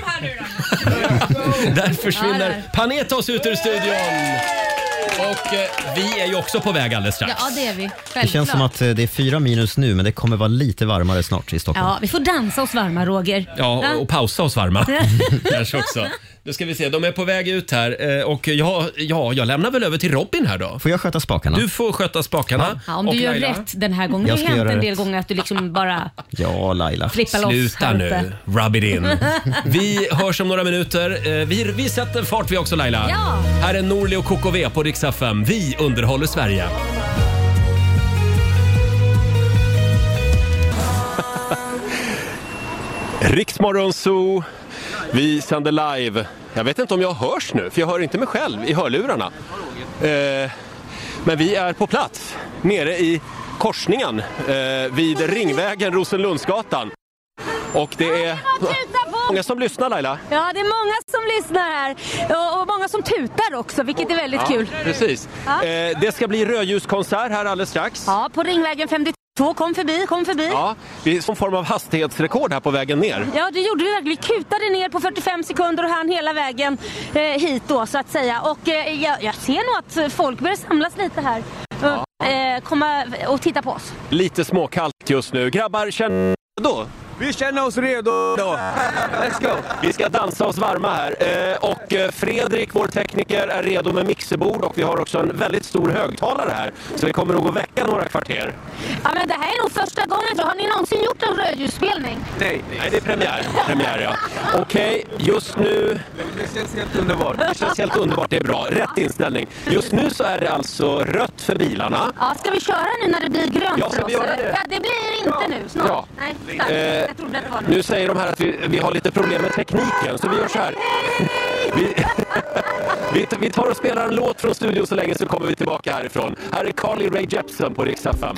[SPEAKER 1] Där
[SPEAKER 2] Ja,
[SPEAKER 1] försvinner Panetos ut ur studion. Och eh, vi är ju också på väg alldeles strax.
[SPEAKER 2] Ja, det är vi. Självklart.
[SPEAKER 5] Det känns som att eh, det är fyra minus nu, men det kommer vara lite varmare snart i Stockholm.
[SPEAKER 2] Ja, vi får dansa oss varma Roger.
[SPEAKER 1] Ja, och, och pausa oss
[SPEAKER 2] <laughs>
[SPEAKER 1] varma.
[SPEAKER 2] Ja.
[SPEAKER 1] Kanske också. Nu ska vi se, de är på väg ut här eh, och jag, ja, jag lämnar väl över till Robin här då.
[SPEAKER 5] Får jag sköta spakarna?
[SPEAKER 1] Du får sköta spakarna.
[SPEAKER 2] Ja, om du
[SPEAKER 1] Och
[SPEAKER 2] gör
[SPEAKER 1] Laila?
[SPEAKER 2] rätt den här gången. Det
[SPEAKER 5] Jag
[SPEAKER 2] har
[SPEAKER 5] ska
[SPEAKER 2] hänt
[SPEAKER 5] göra
[SPEAKER 2] en
[SPEAKER 5] rätt.
[SPEAKER 2] del gånger att du liksom bara...
[SPEAKER 5] Ja, Laila.
[SPEAKER 2] Flippa loss
[SPEAKER 1] Sluta
[SPEAKER 2] här
[SPEAKER 1] nu,
[SPEAKER 2] ute.
[SPEAKER 1] rub it in. Vi hörs om några minuter. Eh, Vi, vi sätter fart vi också Laila.
[SPEAKER 2] Ja.
[SPEAKER 1] Här är Norli och KKV på Rix FM. Vi underhåller Sverige. Riksmorgon Zoo. Vi sänder live. Jag vet inte om jag hörs nu, för jag hör inte mig själv i hörlurarna. Eh, men vi är på plats nere i korsningen eh, vid Ringvägen Rosenlundsgatan. Och det är många som lyssnar Laila.
[SPEAKER 2] Ja, det är många som lyssnar här och, och många som tutar också, vilket är väldigt
[SPEAKER 1] Ja,
[SPEAKER 2] kul.
[SPEAKER 1] Precis.
[SPEAKER 2] Ja.
[SPEAKER 1] Eh, det ska bli rödljuskonsert här alldeles strax.
[SPEAKER 2] Ja, på Ringvägen 52. Kom förbi, kom förbi. Ja.
[SPEAKER 1] Ja, vi är som form av hastighetsrekord här på vägen ner.
[SPEAKER 2] det gjorde vi verkligen. Vi kutade ner på 45 sekunder och hann hela vägen eh, hit då så att säga. Och eh, jag, jag ser nog att folk börjar samlas lite här. Eh, komma och titta på oss.
[SPEAKER 1] Lite småkallt just nu. Grabbar, känn då.
[SPEAKER 13] Vi känner oss redo. Let's go.
[SPEAKER 1] Vi ska dansa oss varma här. Eh, och eh, Fredrik, vår tekniker, är redo med mixerbord och vi har också en väldigt stor högtalare här. Så vi kommer nog att väcka några kvarter.
[SPEAKER 2] Ja, men det här är nog första gången. Har ni någonsin gjort en rödljusspelning?
[SPEAKER 1] Nej, Nej det är premiär. premiär ja. Okej, just nu...
[SPEAKER 13] Det känns helt underbart.
[SPEAKER 1] Det känns helt underbart. Det är bra. Rätt inställning. Just nu så är det alltså rött för bilarna.
[SPEAKER 2] Ja, ska vi köra nu när det blir grönt
[SPEAKER 1] Ja, ska
[SPEAKER 2] för oss?
[SPEAKER 1] vi göra det?
[SPEAKER 2] Ja, det blir inte nu snart.
[SPEAKER 1] Bra.
[SPEAKER 2] Nej, tack.
[SPEAKER 1] Eh,
[SPEAKER 2] jag trodde att det var nu.
[SPEAKER 1] Nu säger de här att vi, vi har lite problem med tekniken, så vi gör så här. Vi, <laughs> vi, vi tar och spelar en låt från studion så länge så kommer vi tillbaka härifrån. Här är Carly Rae Jepsen på Rix FM.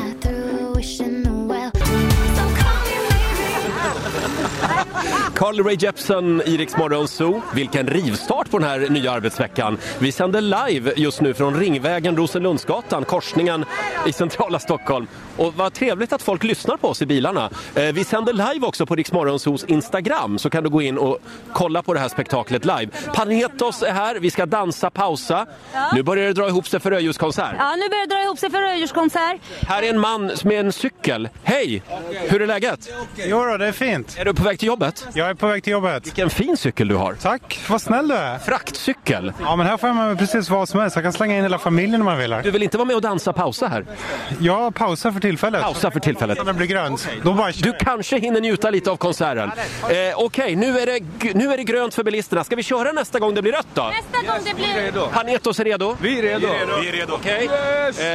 [SPEAKER 1] Carly Rae Jepsen i Rix Morgon Zoo. Vilken rivstart på den här nya arbetsveckan. Vi sänder live just nu från Ringvägen Rosenlundsgatan, korsningen i centrala Stockholm. Och vad trevligt att folk lyssnar på oss i bilarna. Eh, Vi sänder live också på Rix Morgon Zoos Instagram så kan du gå in och kolla på det här spektaklet live. Panhetos är här, vi ska dansa, pausa. Nu börjar det dra ihop sig för rödljuskonsert.
[SPEAKER 2] Ja, nu börjar det dra ihop sig för rödljurskonsert.
[SPEAKER 1] Här är en man med en cykel. Hej! Hur är läget?
[SPEAKER 15] Jo då, det är fint.
[SPEAKER 1] Är du på väg till jobbet?
[SPEAKER 15] Jag är på väg till jobbet.
[SPEAKER 1] Vilken fin cykel du har.
[SPEAKER 15] Tack, vad snäll du är.
[SPEAKER 1] Fraktcykel.
[SPEAKER 15] Ja, men här får man precis vad som helst. Jag kan slänga in hela familjen om man vill. Här.
[SPEAKER 1] Du vill inte vara med och dansa pausa här?
[SPEAKER 15] Ja, pausa för tillfället.
[SPEAKER 1] Pausa för tillfället.
[SPEAKER 15] När det blir grönt.
[SPEAKER 1] Du kanske hinner njuta lite av konserten. Eh, Okej, nu, är det g- nu är det grönt för bilisterna. Ska vi köra nästa gång det blir rött då?
[SPEAKER 2] Nästa gång det blir
[SPEAKER 1] Panetos är redo? Vi är
[SPEAKER 13] redo.
[SPEAKER 1] Vi är redo. Okej.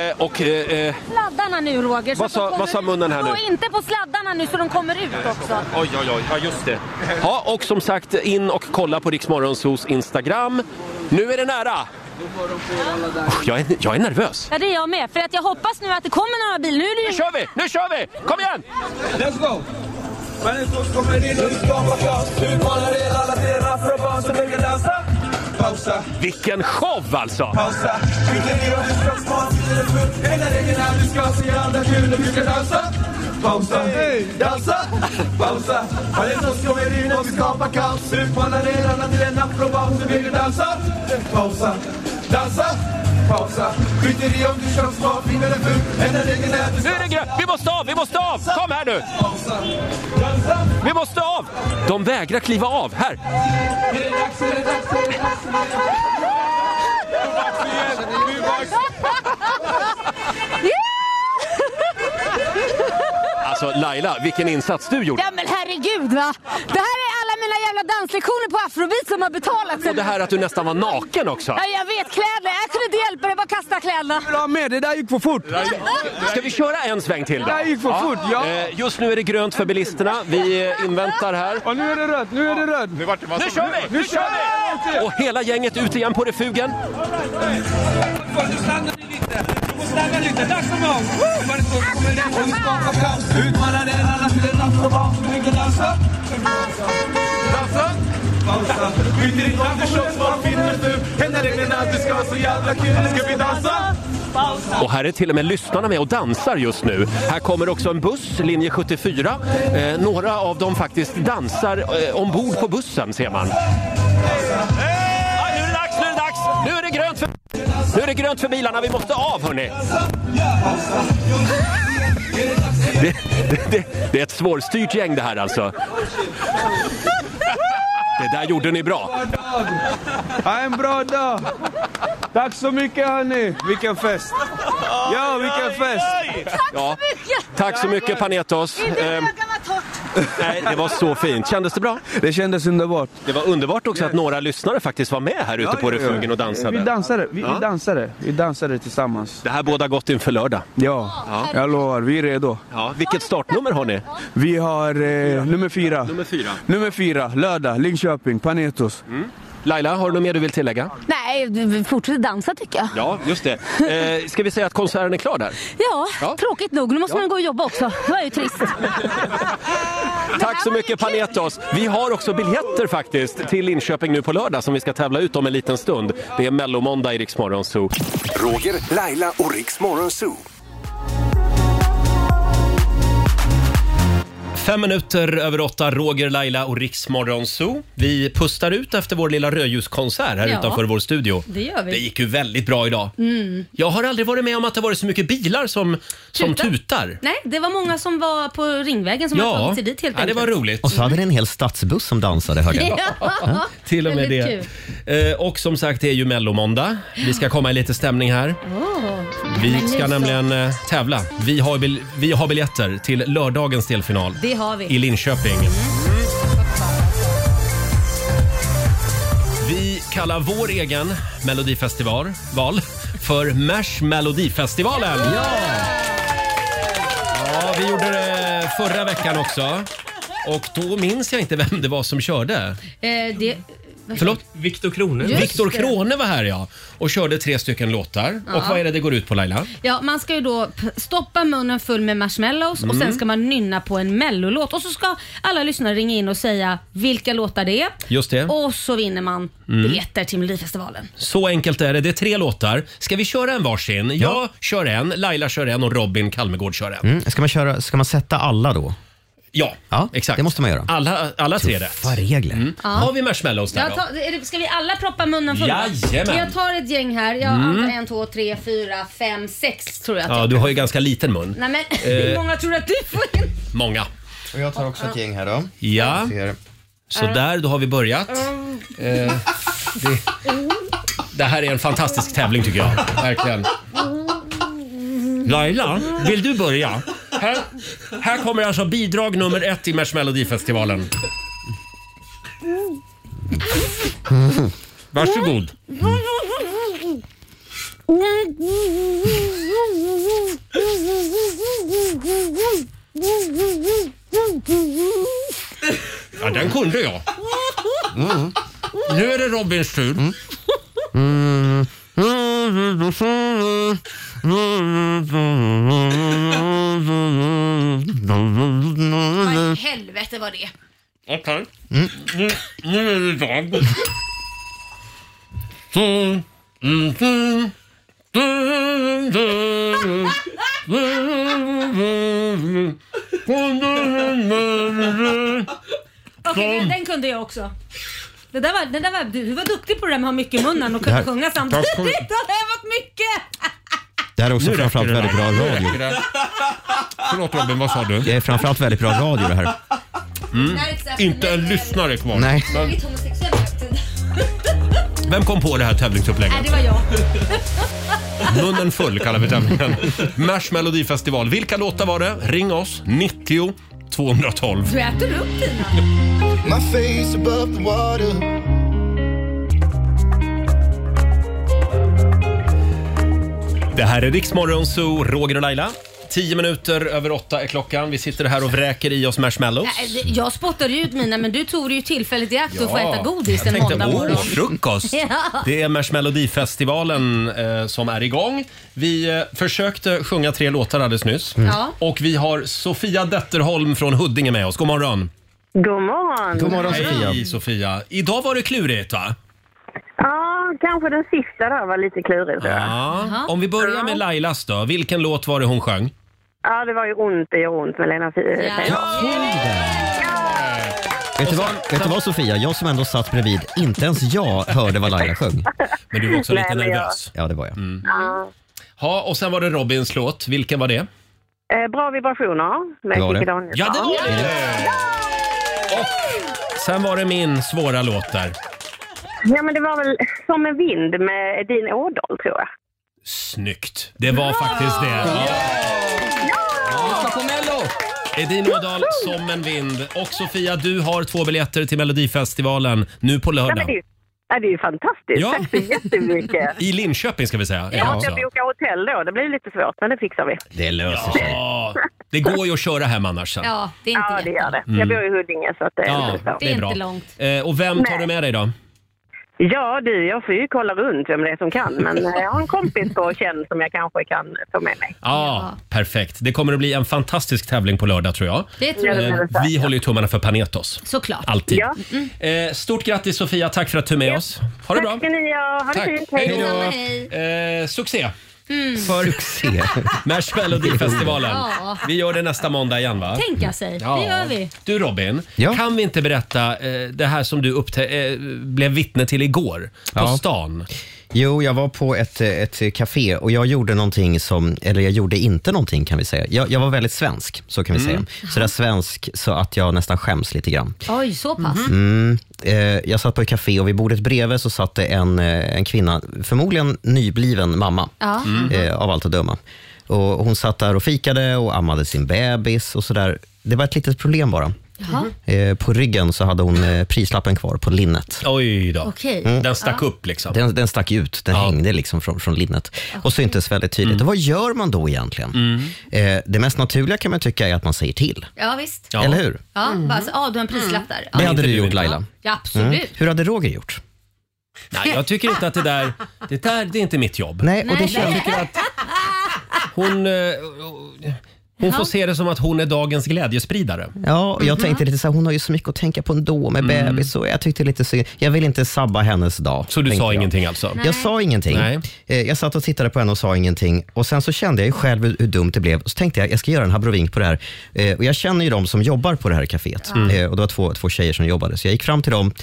[SPEAKER 1] Eh, och... Eh, eh,
[SPEAKER 2] sladdarna nu Roger. så
[SPEAKER 1] Vad
[SPEAKER 2] att
[SPEAKER 1] sa-
[SPEAKER 2] de kommer
[SPEAKER 1] vad sa munnen här
[SPEAKER 2] ut.
[SPEAKER 1] nu?
[SPEAKER 2] Gå inte på sladdarna nu så de kommer ut också.
[SPEAKER 1] Oj, oj, oj. Ja, just det. Ja, och som sagt, in och kolla på Riksmorgonsos Instagram. Nu är det nära! Usch, Jag är, jag är nervös.
[SPEAKER 2] Ja, det är jag med. För att jag hoppas nu att det kommer några bilar. Nu, är det... nu
[SPEAKER 1] kör vi! Nu kör vi! Kom igen!
[SPEAKER 8] Let's go! Människor kommer in och vi skapar kaos. Utmanar er alla dera afrobarn som brukar dansa. Pausa.
[SPEAKER 1] Vilken show alltså!
[SPEAKER 8] Pausa. Skiter i om du ska smart eller full. Hela regeln är du ska se andra kul och vi ska dansa. Pausa. Dansa. Pausa. Människor kommer in och vi skapar kaos. Utmanar er alla till en afrobarn som brukar dansa. Pausa. Dansa. Pausa. Skiter i om du ska smart eller full. Hela regeln är du ska
[SPEAKER 1] Nu är det grönt! Vi måste av! Vi måste av! Kom här nu!
[SPEAKER 8] Pausa. Dansa.
[SPEAKER 1] Vi måste av! De vägrar kliva av. Här! Alltså Laila, vilken insats du gjorde!
[SPEAKER 2] Ja men herregud va! Det här är alla mina jävla danslektioner på afrobeat som har betalats.
[SPEAKER 1] Och det här att du nästan var naken också.
[SPEAKER 2] Ja, jag vet, kläder. Jag kunde inte hjälpa dig, bara kasta kläderna.
[SPEAKER 13] Ja, med, det där gick för fort.
[SPEAKER 1] Ska vi köra en sväng till då?
[SPEAKER 13] Det gick för fort, ja.
[SPEAKER 1] Eh, Just nu är det grönt för bilisterna. Vi eh, inväntar här.
[SPEAKER 13] Och nu är det rött, nu är det rött. Nu,
[SPEAKER 1] Nu kör vi!
[SPEAKER 13] Nu kör vi!
[SPEAKER 1] Och hela gänget ut igen på refugen.
[SPEAKER 8] Du stannar ni lite. Du får stanna lite. Dags för mål. Människor kommer in och vi skapar kaos. Utmanar er alla till en afrobat som brukar dansa. Dansa. Pausa. Skiter i om du köps bara finner du. Händer regeln att du ska ha så jävla kul. Ska vi dansa?
[SPEAKER 1] Och här är till och med lyssnarna med och dansar just nu. Här kommer också en buss, linje 74. Eh, några av dem faktiskt dansar eh, ombord på bussen ser man. Nu är det dags, nu är det dags! Nu är det grönt för, nu är det grönt för bilarna, vi måste av hörni! Det, det, det är ett svårstyrt gäng det här alltså. Det där gjorde ni bra.
[SPEAKER 13] Ha en bra dag. Tack så mycket hörni. Vilken fest. Ja, vilken fest.
[SPEAKER 1] Ja.
[SPEAKER 2] <laughs>
[SPEAKER 1] Tack så mycket Panetos. Ehm,
[SPEAKER 2] var torrt.
[SPEAKER 1] Nej, det var så fint. Kändes det bra?
[SPEAKER 13] Det kändes underbart.
[SPEAKER 1] Det var underbart också att några lyssnare faktiskt var med här ute på refugen och
[SPEAKER 13] Vi
[SPEAKER 1] dansade.
[SPEAKER 13] dansade, vi,
[SPEAKER 1] Ja.
[SPEAKER 13] vi dansade, vi dansade tillsammans.
[SPEAKER 1] Det här båda gott inför lördag.
[SPEAKER 13] Ja, jag lovar, vi är redo.
[SPEAKER 1] Ja, vilket startnummer har ni?
[SPEAKER 13] Vi har eh, nummer fyra. Nummer
[SPEAKER 1] fyra.
[SPEAKER 13] Nummer fyra, lördag, Linköping, Panetos.
[SPEAKER 1] Laila, har du något mer du vill tillägga?
[SPEAKER 2] Nej, du- fortsätt dansa tycker jag.
[SPEAKER 1] Ja, just det. Eh, ska vi säga att konserten är klar där?
[SPEAKER 2] Ja, tråkigt nog. Nu måste man gå och jobba också. Det var ju trist.
[SPEAKER 1] Tack så mycket Panetos. Vi har också biljetter faktiskt till Linköping nu på lördag som vi ska tävla ut om en liten stund. Det är mellomåndag i Rix Morgon Zoo.
[SPEAKER 3] Roger, Laila och Riks Morgonzoo.
[SPEAKER 1] Fem minuter över åtta, Roger, Laila och Rix Morgon Zoo. Vi pustar ut efter vår lilla rödljuskonsert här
[SPEAKER 2] Ja.
[SPEAKER 1] utanför vår studio.
[SPEAKER 2] Det gör vi.
[SPEAKER 1] Det gick ju väldigt bra idag.
[SPEAKER 2] Mm.
[SPEAKER 1] Jag har aldrig varit med om att det varit så mycket bilar som, som
[SPEAKER 2] Tutar.
[SPEAKER 1] tutar.
[SPEAKER 2] Nej, det var många som var på Ringvägen som hade tagit sig dit helt enkelt.
[SPEAKER 1] roligt.
[SPEAKER 5] Och så hade ni en hel stadsbuss som dansade, hörde jag.
[SPEAKER 2] Ja.
[SPEAKER 1] Till och med det.
[SPEAKER 2] Väldigt
[SPEAKER 1] Eh, och som sagt, det är ju mellomåndag. Vi ska komma i lite stämning här.
[SPEAKER 2] Åh. Men
[SPEAKER 1] Vi
[SPEAKER 2] nu
[SPEAKER 1] ska
[SPEAKER 2] så.
[SPEAKER 1] nämligen eh, tävla. Vi har, bil- vi har biljetter till lördagens delfinal
[SPEAKER 2] Det har vi.
[SPEAKER 1] i Linköping. Vi kallar vår egen melodifestival val, för Mash Melodifestivalen. Ja! ja, vi gjorde det förra veckan också. Och då minns jag inte vem det var som körde.
[SPEAKER 2] Eh, det,
[SPEAKER 1] Förlåt?
[SPEAKER 9] Viktor Krone.
[SPEAKER 2] Just
[SPEAKER 1] Viktor
[SPEAKER 2] det.
[SPEAKER 1] Krone var här ja och körde tre stycken låtar.
[SPEAKER 2] Ja.
[SPEAKER 1] Och vad är det det går ut på Laila?
[SPEAKER 2] Ja, man ska ju då p- stoppa munnen full med marshmallows och
[SPEAKER 1] Mm.
[SPEAKER 2] sen ska man nynna på en mellolåt och så ska alla lyssnare ringa in och säga vilka låtar det är.
[SPEAKER 1] Just det.
[SPEAKER 2] Och så vinner man
[SPEAKER 1] Mm.
[SPEAKER 2] biljetter till Melodifestivalen.
[SPEAKER 1] Så enkelt är det. Det är tre låtar. Ska vi köra en varsin? Jag kör en, Laila kör en och Robin Kalmegård kör en.
[SPEAKER 5] Mm. Ska, man köra, ska man sätta alla då?
[SPEAKER 1] Ja,
[SPEAKER 5] exakt. Det måste man göra.
[SPEAKER 1] Alla, alla tre rätt. Mm.
[SPEAKER 5] Tuffa regler.
[SPEAKER 2] Ja.
[SPEAKER 1] Har vi marshmallows där
[SPEAKER 2] Jag
[SPEAKER 1] då?
[SPEAKER 2] tar, är det- ska vi alla proppa munnen full?
[SPEAKER 1] Jajamän.
[SPEAKER 2] Jag tar ett gäng här. Jag
[SPEAKER 1] Mm.
[SPEAKER 2] antar en, två, tre, fyra, fem, sex tror jag. att
[SPEAKER 1] Ja,
[SPEAKER 2] jag-
[SPEAKER 1] du har ju ganska liten mun.
[SPEAKER 2] Nej men <laughs> hur
[SPEAKER 1] Eh.
[SPEAKER 2] många tror du att du får in?
[SPEAKER 1] Många.
[SPEAKER 5] Och jag tar också ett gäng här då.
[SPEAKER 1] Ja. Så där, då har vi börjat. Eh, det, det här är en fantastisk tävling tycker jag. Verkligen. Laila, vill du börja? Här, här kommer alltså bidrag nummer ett i Marshmelodifestivalen.
[SPEAKER 2] Mm.
[SPEAKER 1] Varsågod. Ja, den kunde jag. Nu är det Robins tur.
[SPEAKER 2] Vad
[SPEAKER 1] Mm-hmm.
[SPEAKER 2] i helvete var det?
[SPEAKER 1] Okej. Nu, nu är det jag.
[SPEAKER 2] Okej, den, den kunde jag också. Det där var, det där var, du var duktig på det där med att ha mycket i munnen och
[SPEAKER 5] Det
[SPEAKER 2] kunna
[SPEAKER 5] här-
[SPEAKER 2] sjunga samtidigt. <laughs> Det har varit mycket!
[SPEAKER 5] Det här är också
[SPEAKER 1] Nu räcker
[SPEAKER 5] framförallt
[SPEAKER 1] det,
[SPEAKER 5] väldigt bra
[SPEAKER 1] Laila. Nu
[SPEAKER 5] radio.
[SPEAKER 1] räcker det. Förlåt Robin, vad sa du?
[SPEAKER 5] Det är framförallt väldigt bra radio det här.
[SPEAKER 1] Mm.
[SPEAKER 2] Det här är ett sätt
[SPEAKER 1] Inte en lyssnare kvar.
[SPEAKER 5] Nej.
[SPEAKER 1] Men
[SPEAKER 2] Väldigt homosexuell faktiskt.
[SPEAKER 1] vem kom på det här tävlingsupplägget?
[SPEAKER 2] Nej, det var jag.
[SPEAKER 1] Munnen full kallar vi tävlingen. Mars Melodifestival. Vilka låtar var det? Ring oss, 90 212.
[SPEAKER 2] Du äter upp dina.
[SPEAKER 8] My face above the water.
[SPEAKER 1] Det här är Riksmorgon Zoo, Roger och Laila. 10 minuter över åtta är klockan. Vi sitter här och vräker i oss marshmallows.
[SPEAKER 2] Nej, det- Jag spottade ju ut mina men du tog det ju tillfället i akt att få
[SPEAKER 1] Ja,
[SPEAKER 2] äta godis
[SPEAKER 1] jag
[SPEAKER 2] en
[SPEAKER 1] tänkte,
[SPEAKER 2] måndag
[SPEAKER 1] Åh,
[SPEAKER 2] morgon.
[SPEAKER 1] frukost!
[SPEAKER 2] <laughs> Ja.
[SPEAKER 1] Det är Marshmelodifestivalen eh, som är igång. Vi eh, försökte sjunga tre låtar alldeles nyss.
[SPEAKER 2] Mm. Ja.
[SPEAKER 1] Och vi har Sofia Detterholm från Huddinge med oss. God morgon!
[SPEAKER 6] God morgon.
[SPEAKER 1] Hej Sofia! Idag var det klurigt va?
[SPEAKER 6] Ja, kanske den sista där var lite klurig. tror jag.
[SPEAKER 1] Ja. Om vi börjar med Lailas då. Vilken låt var det hon sjöng?
[SPEAKER 6] Ja, det var ju ont det gör ont med Lena Fy-
[SPEAKER 5] Vet du, vad, vet du vad Sofia, jag som ändå satt bredvid, inte ens jag hörde vad Laila sjöng.
[SPEAKER 1] Men du var också lite nervös.
[SPEAKER 5] Ja, det var jag.
[SPEAKER 6] Ja.
[SPEAKER 1] Ja, och sen var det Robins låt. Vilken var det?
[SPEAKER 6] Eh, Bra vibrationer med
[SPEAKER 1] Det var det.
[SPEAKER 6] Kikki Danielsson.
[SPEAKER 1] Ja, det var det. Sen var det min svåra låt där.
[SPEAKER 6] Ja, men det var väl Som en vind med Edin Ådahl, tror jag.
[SPEAKER 1] Snyggt. Det var faktiskt det. Ja. Edin Ådahl, Som en vind. Och Sofia, du har två biljetter till Melodifestivalen nu på
[SPEAKER 6] Ja, men det, är
[SPEAKER 1] lördag.
[SPEAKER 6] ju, ja, det är ju fantastiskt.
[SPEAKER 1] Ja.
[SPEAKER 6] Tack så
[SPEAKER 1] <laughs>
[SPEAKER 6] jättemycket.
[SPEAKER 1] I Linköping ska vi säga.
[SPEAKER 6] Ja, jag bokar hotell då. Det blir lite svårt, men det fixar vi.
[SPEAKER 1] Det löser sig. Ja. Det går ju att köra hem annars sen.
[SPEAKER 6] Ja, det är inte Ja, det gör det. Jag
[SPEAKER 1] Mm.
[SPEAKER 6] bor i Huddinge, så att det är
[SPEAKER 1] Ja,
[SPEAKER 6] inte så.
[SPEAKER 1] det är bra. Eh, Och vem tar
[SPEAKER 6] Nej.
[SPEAKER 1] du med dig då?
[SPEAKER 6] Ja, du, jag får ju kolla runt vem det är som kan, men eh, jag har en kompis på känn som jag kanske kan ta med mig.
[SPEAKER 1] Ja, perfekt. Det kommer att bli en fantastisk tävling på lördag tror jag.
[SPEAKER 6] Det tror jag.
[SPEAKER 1] Eh, Vi håller ju tummarna för Panetos.
[SPEAKER 2] Såklart.
[SPEAKER 1] Alltid. Eh, Stort grattis Sofia, tack för att du är med oss. Ha det bra.
[SPEAKER 6] Tack ska ni ha. Ha det
[SPEAKER 1] Tack.
[SPEAKER 6] fint.
[SPEAKER 1] Hej då. Eh, succé för succé.
[SPEAKER 6] <laughs>
[SPEAKER 1] Melodifestivalen.
[SPEAKER 2] Ja.
[SPEAKER 1] Vi gör det nästa måndag igen va?
[SPEAKER 2] Tänka sig,
[SPEAKER 1] Ja.
[SPEAKER 2] det gör vi.
[SPEAKER 1] Du Robin, kan vi inte berätta eh, det här som du upptä- eh, blev vittne till igår på
[SPEAKER 5] Ja.
[SPEAKER 1] stan?
[SPEAKER 5] Jo, jag var på ett, eh, ett café och jag gjorde någonting som, eller jag gjorde inte någonting kan vi säga. Jag, jag var väldigt svensk, så kan vi
[SPEAKER 2] Mm.
[SPEAKER 5] säga. Så där svensk så att jag nästan skäms lite grann.
[SPEAKER 2] Oj, så pass.
[SPEAKER 5] Mm. Eh, jag satt på ett café och vid bordet bredvid så satt det en, eh, en kvinna, förmodligen nybliven mamma,
[SPEAKER 2] Ja. Mm.
[SPEAKER 5] eh, av allt att döma. Och hon satt där och fikade och ammade sin bebis och sådär. Det var ett litet problem bara.
[SPEAKER 2] Jaha.
[SPEAKER 5] Eh, På ryggen så hade hon eh, prislappen kvar på linnet.
[SPEAKER 1] Oj då.
[SPEAKER 2] Okej.
[SPEAKER 1] Den stack upp liksom?
[SPEAKER 5] Mm. Den, den stack ut, den hängde liksom från, från linnet. Och syntes väldigt tydligt. Och vad gör man då egentligen? Eh, det mest naturliga kan man tycka är att man säger till.
[SPEAKER 2] Ja visst.
[SPEAKER 5] Eller hur?
[SPEAKER 2] Ja,
[SPEAKER 6] Mm-hmm.
[SPEAKER 2] bara så, ah, du har
[SPEAKER 6] Mm.
[SPEAKER 2] en prislapp där. Ja.
[SPEAKER 5] Det hade du gjort Laila.
[SPEAKER 2] Ja, absolut.
[SPEAKER 5] Mm. Hur hade Roger gjort?
[SPEAKER 1] Nej, jag tycker inte att det där, det där det är inte mitt jobb.
[SPEAKER 5] Nej, och det
[SPEAKER 1] jag
[SPEAKER 5] känns-
[SPEAKER 1] tycker att hon, eh, hon får se det som att hon är dagens glädjespridare.
[SPEAKER 5] Ja, och jag tänkte lite så här, hon har ju så mycket att tänka på ändå med bebis. Och jag tyckte lite synd. Jag vill inte sabba hennes dag.
[SPEAKER 1] Så du
[SPEAKER 5] tänkte
[SPEAKER 1] sa
[SPEAKER 5] jag.
[SPEAKER 1] ingenting alltså? Nej.
[SPEAKER 5] Jag sa ingenting.
[SPEAKER 1] Nej.
[SPEAKER 5] Eh, Jag satt och tittade på henne och sa ingenting. Och Sen så kände jag ju själv hur, hur dumt det blev. Och Så tänkte jag, jag ska göra en abrovink på det här. Eh, Och Jag känner ju de som jobbar på det här kaféet.
[SPEAKER 2] Mm.
[SPEAKER 5] Eh, Och det var två, två tjejer som jobbade. Så jag gick fram till dem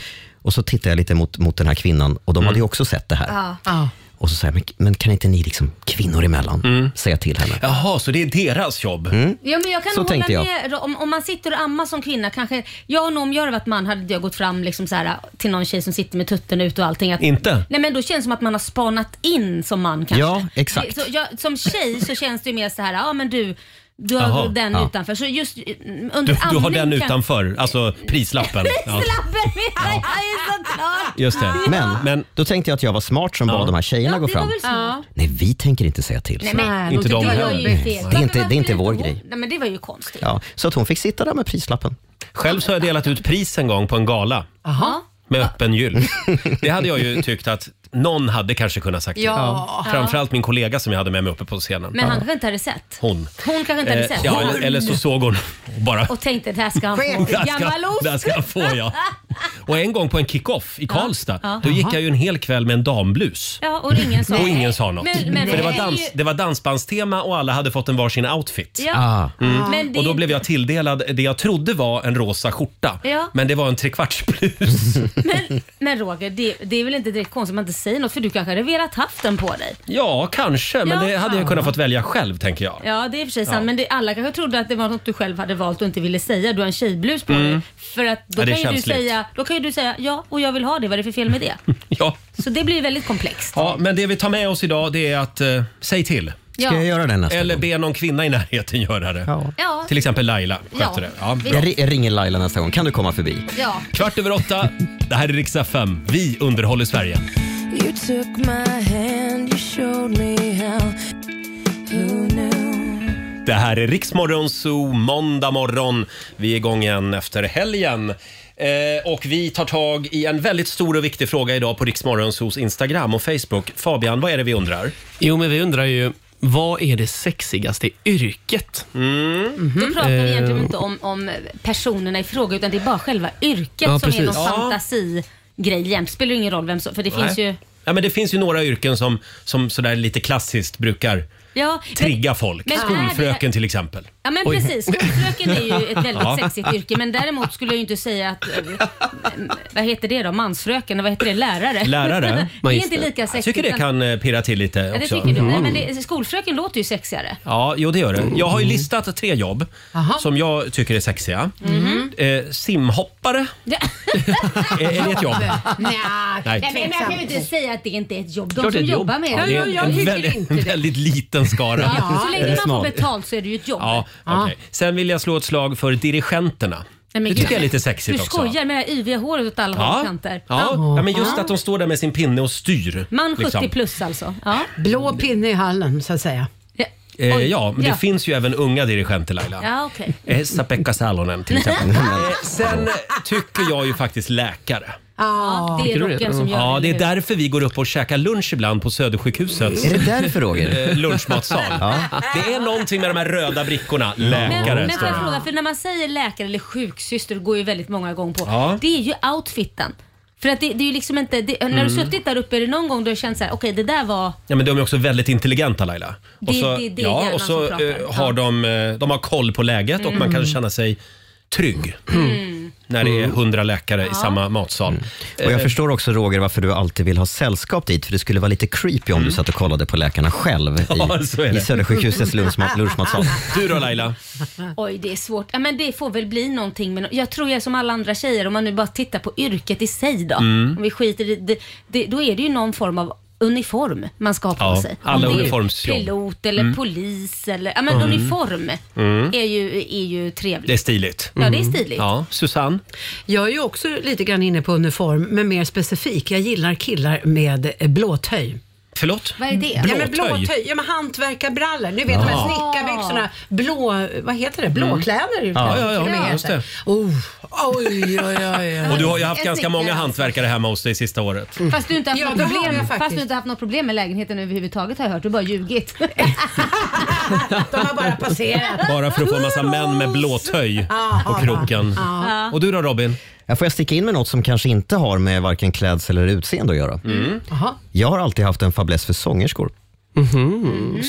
[SPEAKER 5] och så tittade jag lite mot, mot den här kvinnan. Och de hade ju också sett det här.
[SPEAKER 2] Ja.
[SPEAKER 5] Och så sa jag, men, men kan inte ni liksom kvinnor emellan säga till henne?
[SPEAKER 1] Jaha, så det är deras jobb?
[SPEAKER 5] Mm.
[SPEAKER 2] Ja, men jag kan
[SPEAKER 5] Så
[SPEAKER 2] hålla
[SPEAKER 5] tänkte jag.
[SPEAKER 2] med. Om, om man sitter och ammar som kvinna, kanske, jag och nog om jag hade varit man hade jag gått fram liksom så här, till någon tjej som sitter med tutten ut och allting. Att,
[SPEAKER 5] Inte?
[SPEAKER 2] Nej men då känns det som att man har spanat in som man kanske.
[SPEAKER 5] Ja, exakt.
[SPEAKER 2] Det- Så, jag, som tjej så känns det ju mer så här, ja men du, du har
[SPEAKER 1] Jaha,
[SPEAKER 2] den
[SPEAKER 1] ja.
[SPEAKER 2] utanför. Så just eh, under
[SPEAKER 1] Du, du har
[SPEAKER 2] amning
[SPEAKER 1] den
[SPEAKER 2] kan-
[SPEAKER 1] utanför, alltså
[SPEAKER 5] <laughs>
[SPEAKER 1] prislappen. Ja.
[SPEAKER 2] Prislappen menar <laughs> jag ju såklart.
[SPEAKER 5] Men, men då tänkte jag att jag var smart som bad de här tjejerna gå
[SPEAKER 2] Det var
[SPEAKER 5] fram.
[SPEAKER 2] väl smart.
[SPEAKER 5] Nej, vi tänker inte säga till.
[SPEAKER 2] Nej,
[SPEAKER 5] så.
[SPEAKER 2] men, det var ju fel.
[SPEAKER 5] Det är
[SPEAKER 2] Varför-
[SPEAKER 5] inte, det
[SPEAKER 2] varför
[SPEAKER 5] är inte vår
[SPEAKER 2] hon-
[SPEAKER 5] grej.
[SPEAKER 2] Nej, men det var ju konstigt.
[SPEAKER 5] Ja, så att hon fick sitta där med prislappen.
[SPEAKER 1] Själv så har jag delat ut pris en gång på en gala
[SPEAKER 2] Aha.
[SPEAKER 1] med
[SPEAKER 5] Ah.
[SPEAKER 1] öppen gyll. Det hade jag ju tyckt att någon hade kanske kunnat sagt till.
[SPEAKER 2] Ja.
[SPEAKER 1] Framförallt min kollega som jag hade med mig uppe på scenen.
[SPEAKER 2] Men han kanske inte hade sett.
[SPEAKER 1] Hon.
[SPEAKER 2] Hon kanske inte hade
[SPEAKER 1] Eh,
[SPEAKER 2] sett.
[SPEAKER 1] ja, eller, eller så såg hon och bara...
[SPEAKER 2] och tänkte det här ska han få.
[SPEAKER 1] <laughs> Där
[SPEAKER 2] Gammal
[SPEAKER 1] ska, <laughs>
[SPEAKER 2] ost.
[SPEAKER 1] där ska han få
[SPEAKER 2] <laughs>
[SPEAKER 1] ja. Och en gång på en kick-off i Karlstad,
[SPEAKER 2] Ja.
[SPEAKER 1] då gick
[SPEAKER 2] Jaha.
[SPEAKER 1] jag ju en hel kväll med en damblus.
[SPEAKER 2] Ja, och ingen sa
[SPEAKER 1] Och ingen sa något.
[SPEAKER 2] Men- men
[SPEAKER 1] För det
[SPEAKER 2] det
[SPEAKER 1] var,
[SPEAKER 2] är
[SPEAKER 1] dans,
[SPEAKER 2] ju-
[SPEAKER 1] det var dansbandstema och alla hade fått en varsin outfit.
[SPEAKER 2] Ja. Ah.
[SPEAKER 1] Mm.
[SPEAKER 2] Men det-
[SPEAKER 1] Och då blev jag tilldelad det jag trodde var en rosa skjorta.
[SPEAKER 2] Ja.
[SPEAKER 1] Men det var en
[SPEAKER 2] <laughs>
[SPEAKER 1] trekvartsblus.
[SPEAKER 2] Men Roger, det, det är väl inte direkt konstigt att man inte säger något för du kanske hade velat haft den på dig?
[SPEAKER 1] ja, kanske. Men
[SPEAKER 2] Ja.
[SPEAKER 1] det hade jag kunnat fått välja själv, tänker jag.
[SPEAKER 2] Ja, det är i och för sig sant.
[SPEAKER 1] Ja.
[SPEAKER 2] Men det, alla kanske trodde att det var något du själv hade valt och inte ville säga. Du har en tjejblus på
[SPEAKER 1] Mm.
[SPEAKER 2] dig. För att då,
[SPEAKER 1] Ja, det är
[SPEAKER 2] kan ju du
[SPEAKER 1] känsligt.
[SPEAKER 2] säga, då kan ju du säga ja och jag vill ha det. Vad är det för fel med <laughs> det?
[SPEAKER 1] Ja.
[SPEAKER 2] Så det blir väldigt komplext.
[SPEAKER 1] ja, men det vi tar med oss idag det är att eh, säg till.
[SPEAKER 2] Ja. Ska jag göra
[SPEAKER 5] det nästa
[SPEAKER 1] Eller be någon kvinna i närheten göra det.
[SPEAKER 2] Ja.
[SPEAKER 1] Till exempel Laila sköter
[SPEAKER 2] Ja.
[SPEAKER 1] det. Ja, bra.
[SPEAKER 5] Jag, ri- jag ringer Laila nästa gång. Kan du komma förbi?
[SPEAKER 2] Ja.
[SPEAKER 1] Kvart över åtta. Det här är Riksdag 5. Vi underhåller Sverige.
[SPEAKER 16] You took my hand, you showed me how. Who knew?
[SPEAKER 1] Det här är Riksmorgon Zoo, måndag morgon. Vi är igång igen efter helgen. Eh, och vi tar tag i en väldigt stor och viktig fråga idag på Riksmorgon Zoos Instagram och Facebook. Fabian, vad är det vi undrar?
[SPEAKER 9] Jo, men vi undrar ju, vad är det sexigaste yrket?
[SPEAKER 1] Mm.
[SPEAKER 2] Då pratar vi egentligen inte om, om personerna i fråga utan det är bara själva yrket
[SPEAKER 1] Ja,
[SPEAKER 2] som är någon
[SPEAKER 1] precis. Ja.
[SPEAKER 2] fantasigrej jämt. Spelar ju ingen roll vem som... För det finns
[SPEAKER 1] Nej.
[SPEAKER 2] ju...
[SPEAKER 1] Ja, men det finns ju några yrken som, som sådär lite klassiskt brukar
[SPEAKER 2] Ja,
[SPEAKER 1] trigga folk.
[SPEAKER 2] men är det-
[SPEAKER 1] Skolfröken till exempel.
[SPEAKER 2] Ja men
[SPEAKER 1] Oj.
[SPEAKER 2] precis, skolfröken är ju
[SPEAKER 1] <laughs>
[SPEAKER 2] ett väldigt
[SPEAKER 1] Ja.
[SPEAKER 2] sexigt yrke men däremot skulle jag ju inte säga att, eh, vad heter det då, mansfröken, och vad heter det, lärare?
[SPEAKER 1] Lärare.
[SPEAKER 2] <laughs> det är inte lika sexigt.
[SPEAKER 1] Jag tycker det
[SPEAKER 2] utan-
[SPEAKER 1] kan eh, pirra till lite
[SPEAKER 2] Ja, det
[SPEAKER 1] också. Mm.
[SPEAKER 2] tycker du. Nej, men det, skolfröken låter ju sexigare. <laughs>
[SPEAKER 1] Ja, jo det gör det. Jag har ju listat tre jobb
[SPEAKER 2] Aha.
[SPEAKER 1] som jag tycker är sexiga.
[SPEAKER 2] Mhm.
[SPEAKER 1] Eh, simhoppare
[SPEAKER 2] Ja.
[SPEAKER 1] är, är det ett jobb?
[SPEAKER 2] Nej,
[SPEAKER 1] Nej.
[SPEAKER 2] Nej. men jag kan ju inte säga att det inte är ett jobb. De
[SPEAKER 1] Klart det är
[SPEAKER 2] som
[SPEAKER 1] ett jobb.
[SPEAKER 2] jobbar med
[SPEAKER 1] Ja,
[SPEAKER 2] det.
[SPEAKER 1] det är en, en, väldigt, en väldigt liten skara.
[SPEAKER 2] Ja, så
[SPEAKER 1] Eh,
[SPEAKER 2] länge man får
[SPEAKER 1] smal.
[SPEAKER 2] betalt så är det ju ett jobb.
[SPEAKER 1] Ja, okej. Sen vill jag slå ett slag för dirigenterna.
[SPEAKER 2] Nej, men
[SPEAKER 1] det
[SPEAKER 2] gud.
[SPEAKER 1] tycker jag är lite sexigt
[SPEAKER 2] Du
[SPEAKER 1] också.
[SPEAKER 2] skojar med det här yviga håret åt alla håll och
[SPEAKER 1] Ja.
[SPEAKER 2] kanter.
[SPEAKER 1] Ja. ja, men just att de står där med sin pinne och styr.
[SPEAKER 2] Man 70
[SPEAKER 1] liksom.
[SPEAKER 2] plus alltså.
[SPEAKER 7] Blå pinne i hallen, så att säga.
[SPEAKER 1] Eh, ja, men det
[SPEAKER 7] Ja.
[SPEAKER 1] finns ju även unga dirigenter Laila.
[SPEAKER 2] Ja, okej.
[SPEAKER 1] Esa-Pekka Salonen till exempel. Eh, Sen tycker jag ju faktiskt läkare.
[SPEAKER 2] Ja, det är rocken som gör
[SPEAKER 1] Ja, det är
[SPEAKER 2] eller hur?
[SPEAKER 1] därför vi går upp och käkar lunch ibland på Södersjukhuset.
[SPEAKER 5] Är det därför, Roger?
[SPEAKER 1] Eh, Lunchmatsal. Det är någonting med de här röda brickorna. Läkare
[SPEAKER 2] Men, men
[SPEAKER 1] står
[SPEAKER 2] får jag
[SPEAKER 1] det.
[SPEAKER 2] fråga, för när man säger läkare eller sjuksyster går ju väldigt många gånger på.
[SPEAKER 1] Ja.
[SPEAKER 2] Det är ju outfiten. För att det, det är ju liksom inte, det, när
[SPEAKER 1] Mm.
[SPEAKER 2] du suttit där uppe är det någon gång du har känt såhär, okej det där var...
[SPEAKER 1] Ja, men de är också väldigt intelligenta Laila.
[SPEAKER 2] Det- det- det är
[SPEAKER 1] ja,
[SPEAKER 2] hjärnan
[SPEAKER 1] och så
[SPEAKER 2] som pratar.
[SPEAKER 1] eh, har de, eh, de har koll på läget och man kan
[SPEAKER 2] Mm.
[SPEAKER 1] känna sig trygg. När det är hundra läkare i samma matsal.
[SPEAKER 5] Och jag
[SPEAKER 1] Eh,
[SPEAKER 5] förstår också Roger varför du alltid vill ha sällskap dit, för det skulle vara lite creepy om du satt och kollade på läkarna själv i,
[SPEAKER 1] <laughs> Ja, så är det.
[SPEAKER 5] i Södersjukhusets lunchma- lunchmatsal.
[SPEAKER 1] Du då Laila?
[SPEAKER 2] Oj, det är svårt. Ja, men det får väl bli någonting. Men jag tror jag är som alla andra tjejer, om man nu bara tittar på yrket i sig då.
[SPEAKER 1] Mm.
[SPEAKER 2] Om vi skiter i det, det, då är det ju någon form av uniform man ska ha på
[SPEAKER 1] Ja,
[SPEAKER 2] sig. Om
[SPEAKER 1] alla
[SPEAKER 2] det är
[SPEAKER 1] uniformsjobb.
[SPEAKER 2] Pilot eller
[SPEAKER 1] Mm.
[SPEAKER 2] polis eller, ja men
[SPEAKER 1] Mm.
[SPEAKER 2] uniform
[SPEAKER 1] Mm.
[SPEAKER 2] är ju, är ju trevligt.
[SPEAKER 1] Det är stiligt.
[SPEAKER 2] Ja, det är stiligt.
[SPEAKER 1] Ja, Susanne?
[SPEAKER 7] Jag är ju också lite grann inne på uniform, men mer specifik. Jag gillar killar med eh, blåtöj.
[SPEAKER 1] Förlåt?
[SPEAKER 2] Vad är det?
[SPEAKER 7] Ja, men
[SPEAKER 1] Blåtöj?
[SPEAKER 7] blåtöj, ja, men hantverkarbrallor. Ni vet
[SPEAKER 1] Ja.
[SPEAKER 7] de här snickarbyxorna, blå, vad heter det? Blåkläder?
[SPEAKER 1] Mm. Ja, ja, ja,
[SPEAKER 7] Trä.
[SPEAKER 1] just det.
[SPEAKER 7] Oh, oj, oj,
[SPEAKER 1] <laughs>
[SPEAKER 7] oj, oj.
[SPEAKER 1] Och du har ju haft
[SPEAKER 2] Jag
[SPEAKER 1] ganska
[SPEAKER 2] tycker-
[SPEAKER 1] många hantverkare hemma hos dig sista året.
[SPEAKER 2] Fast du, inte haft
[SPEAKER 7] Ja,
[SPEAKER 2] något
[SPEAKER 7] det har jag
[SPEAKER 2] problem,
[SPEAKER 7] faktiskt.
[SPEAKER 2] fast du inte haft något problem med lägenheten överhuvudtaget har jag hört. Du har
[SPEAKER 7] <laughs>
[SPEAKER 2] bara ljugit.
[SPEAKER 7] <laughs> De har bara passerat.
[SPEAKER 1] Bara för att få en massa män med blåtöj på kroken.
[SPEAKER 2] Ja. Mm.
[SPEAKER 1] Och du då Robin?
[SPEAKER 5] Jag får jag sticka in med något som kanske inte har med varken klädsel eller utseende att göra?
[SPEAKER 1] Mm.
[SPEAKER 7] Jaha.
[SPEAKER 5] Jag har alltid haft en fäbless för sångerskor.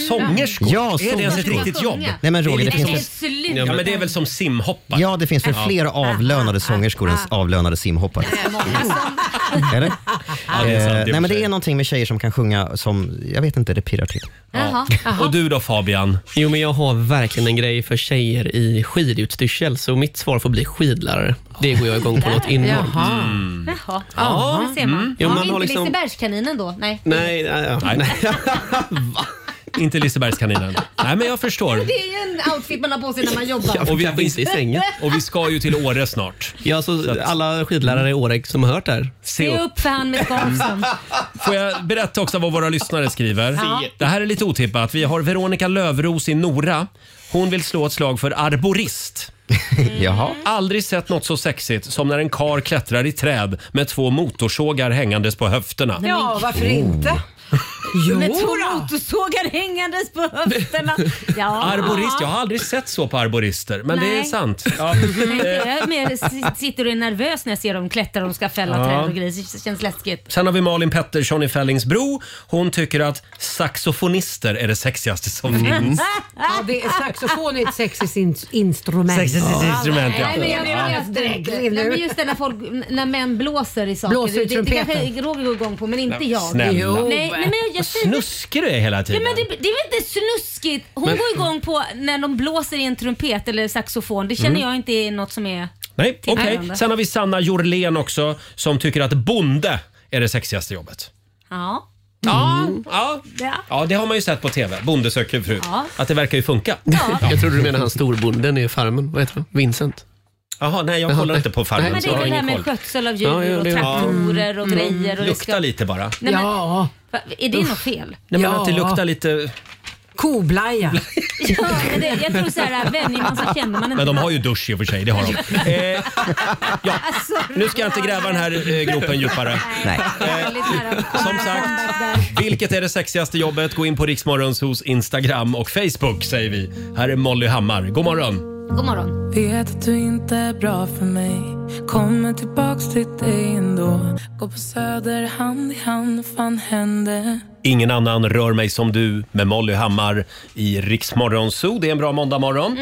[SPEAKER 1] Sångerskor?
[SPEAKER 5] Ja,
[SPEAKER 1] är det ens ett
[SPEAKER 5] sångerskor.
[SPEAKER 1] riktigt jobb?
[SPEAKER 5] Nej, men Roger, det
[SPEAKER 1] är lite
[SPEAKER 5] finns-
[SPEAKER 1] som-
[SPEAKER 2] Sluta.
[SPEAKER 1] Ja, men det är väl som simhoppare?
[SPEAKER 5] Ja, det finns väl
[SPEAKER 1] Ja.
[SPEAKER 5] fler avlönade sångerskor än avlönade simhoppare. <laughs>
[SPEAKER 1] Ja, det
[SPEAKER 5] Eller?
[SPEAKER 1] är sant, det är
[SPEAKER 5] Eh,
[SPEAKER 1] för
[SPEAKER 5] nej, men det
[SPEAKER 1] sig.
[SPEAKER 5] är någonting med tjejer som kan sjunga som, jag vet inte, det pirrar till.
[SPEAKER 2] Jaha,
[SPEAKER 1] Och du då Fabian?
[SPEAKER 9] Jo, men jag har verkligen en grej för tjejer i skidutstyrsel, så mitt svar får bli skidlärare. Det går jag igång på något enormt.
[SPEAKER 2] Jaha.
[SPEAKER 9] Mm.
[SPEAKER 2] Jaha.
[SPEAKER 9] Ja.
[SPEAKER 2] Ja, det ser man.
[SPEAKER 9] Mm. Jo,
[SPEAKER 2] Ja,
[SPEAKER 9] man
[SPEAKER 2] inte
[SPEAKER 9] har liksom-
[SPEAKER 2] Lisebergskaninen då? Nej.
[SPEAKER 9] Nej, nej, nej.
[SPEAKER 1] Inte Lisebergskaninen. Nej, men jag förstår.
[SPEAKER 2] Det är ju en outfit man har på sig när man
[SPEAKER 9] <laughs>
[SPEAKER 2] jobbar.
[SPEAKER 9] och vi, kanske inte i sängen.
[SPEAKER 1] Och vi ska ju till Åre snart.
[SPEAKER 9] Ja, så alla skidlärare i Åre som har hört det här.
[SPEAKER 2] Se upp för han med skansen.
[SPEAKER 1] Får jag berätta också vad våra lyssnare skriver?
[SPEAKER 2] Ja.
[SPEAKER 1] Det här är lite otippat. Vi har Veronica Lövros i Nora. Hon vill slå ett slag för arborist. Mm.
[SPEAKER 5] Jaha.
[SPEAKER 1] Aldrig sett något så sexigt som när en kar klättrar i träd med två motorsågar hängandes på höfterna.
[SPEAKER 7] Ja, varför inte?
[SPEAKER 1] Oh. <laughs> Jo
[SPEAKER 2] Med två
[SPEAKER 1] då.
[SPEAKER 2] motorsågar hängandes på höfterna. Ja.
[SPEAKER 1] Arborist, jag har aldrig sett så på arborister, men det är
[SPEAKER 2] Nej.
[SPEAKER 1] sant. <laughs> Ja.
[SPEAKER 2] Nej, det är mer s- sitter och är nervös när jag ser dem klättra och ska fälla
[SPEAKER 1] Ja.
[SPEAKER 2] träd och grejer. Det känns läskigt.
[SPEAKER 1] Sen har vi Malin Pettersson i Fällingsbro. Hon tycker att saxofonister är det sexigaste som
[SPEAKER 2] Mm.
[SPEAKER 1] finns.
[SPEAKER 2] <laughs>
[SPEAKER 7] Ja, det är saxofon är ett sexigt in- instrument.
[SPEAKER 1] Sexigt instrument, ja.
[SPEAKER 2] Nej, men jag menar
[SPEAKER 7] Ja.
[SPEAKER 2] just det. Nej, men just det när, folk, när män blåser i saker.
[SPEAKER 7] Blåser i
[SPEAKER 2] det, det, det kanske
[SPEAKER 7] trumpeten.
[SPEAKER 2] Roger går igång på, men inte
[SPEAKER 1] Men
[SPEAKER 2] jag.
[SPEAKER 1] snälla.
[SPEAKER 2] Jo. Nej, nej, men jag, jag säger
[SPEAKER 1] Snuskar du är hela
[SPEAKER 2] Ja,
[SPEAKER 1] tiden?
[SPEAKER 2] men det, det är väl inte snuskigt? Hon
[SPEAKER 1] Men-
[SPEAKER 2] går igång på när de blåser i en trumpet eller saxofon. Det känner
[SPEAKER 1] Mm.
[SPEAKER 2] jag inte är något som är...
[SPEAKER 1] Nej, okej.
[SPEAKER 2] Tillhörande.
[SPEAKER 1] Sen har vi Sanna Jorlén också som tycker att bonde är det sexigaste jobbet.
[SPEAKER 2] Ja.
[SPEAKER 1] Ja,
[SPEAKER 2] Mm.
[SPEAKER 1] ja. Ja, det har man ju sett på TV. Bonde söker fru.
[SPEAKER 2] Ja.
[SPEAKER 1] Att det verkar ju funka. <laughs>
[SPEAKER 9] Jag trodde du menade han storbonden i Farmen. Vad heter han? Vincent?
[SPEAKER 1] Jaha, nej jag kollar inte på Farmen.
[SPEAKER 2] Men det
[SPEAKER 1] så jag
[SPEAKER 2] är
[SPEAKER 1] har
[SPEAKER 2] väl det här
[SPEAKER 1] ingen
[SPEAKER 2] med
[SPEAKER 1] koll.
[SPEAKER 2] skötsel av djur
[SPEAKER 1] Ja, ja,
[SPEAKER 2] och
[SPEAKER 1] det är-
[SPEAKER 2] traktorer och
[SPEAKER 1] Mm.
[SPEAKER 2] grejer. Och det
[SPEAKER 1] Lukta lite bara. Nej,
[SPEAKER 2] Nej, men,
[SPEAKER 7] ja.
[SPEAKER 2] Va, är det något fel? <laughs>
[SPEAKER 1] men att det luktar lite...
[SPEAKER 7] Koblaja.
[SPEAKER 2] Ja, men det, jag tror så här, vänjer man sig känner man inte.
[SPEAKER 1] Men de har ju dusch i och för sig, det har de.
[SPEAKER 2] <laughs>
[SPEAKER 1] Eh, ja.
[SPEAKER 2] Alltså,
[SPEAKER 1] Nu ska jag inte gräva den här eh, gropen djupare. Eh,
[SPEAKER 5] Nej.
[SPEAKER 2] väldigt nära.
[SPEAKER 1] Som sagt, vilket är det sexigaste jobbet? Gå in på Riksmorgons hos Instagram och Facebook säger vi. Här är Molly Hammar. God morgon!
[SPEAKER 2] God morgon.
[SPEAKER 16] Vet att du inte är bra för mig Kommer tillbaks till dig ändå Går på Söder hand i hand, fan hände
[SPEAKER 1] Ingen annan rör mig som du med Molly Hammar i Riksmorgon Zoo. Det är en bra måndagmorgon.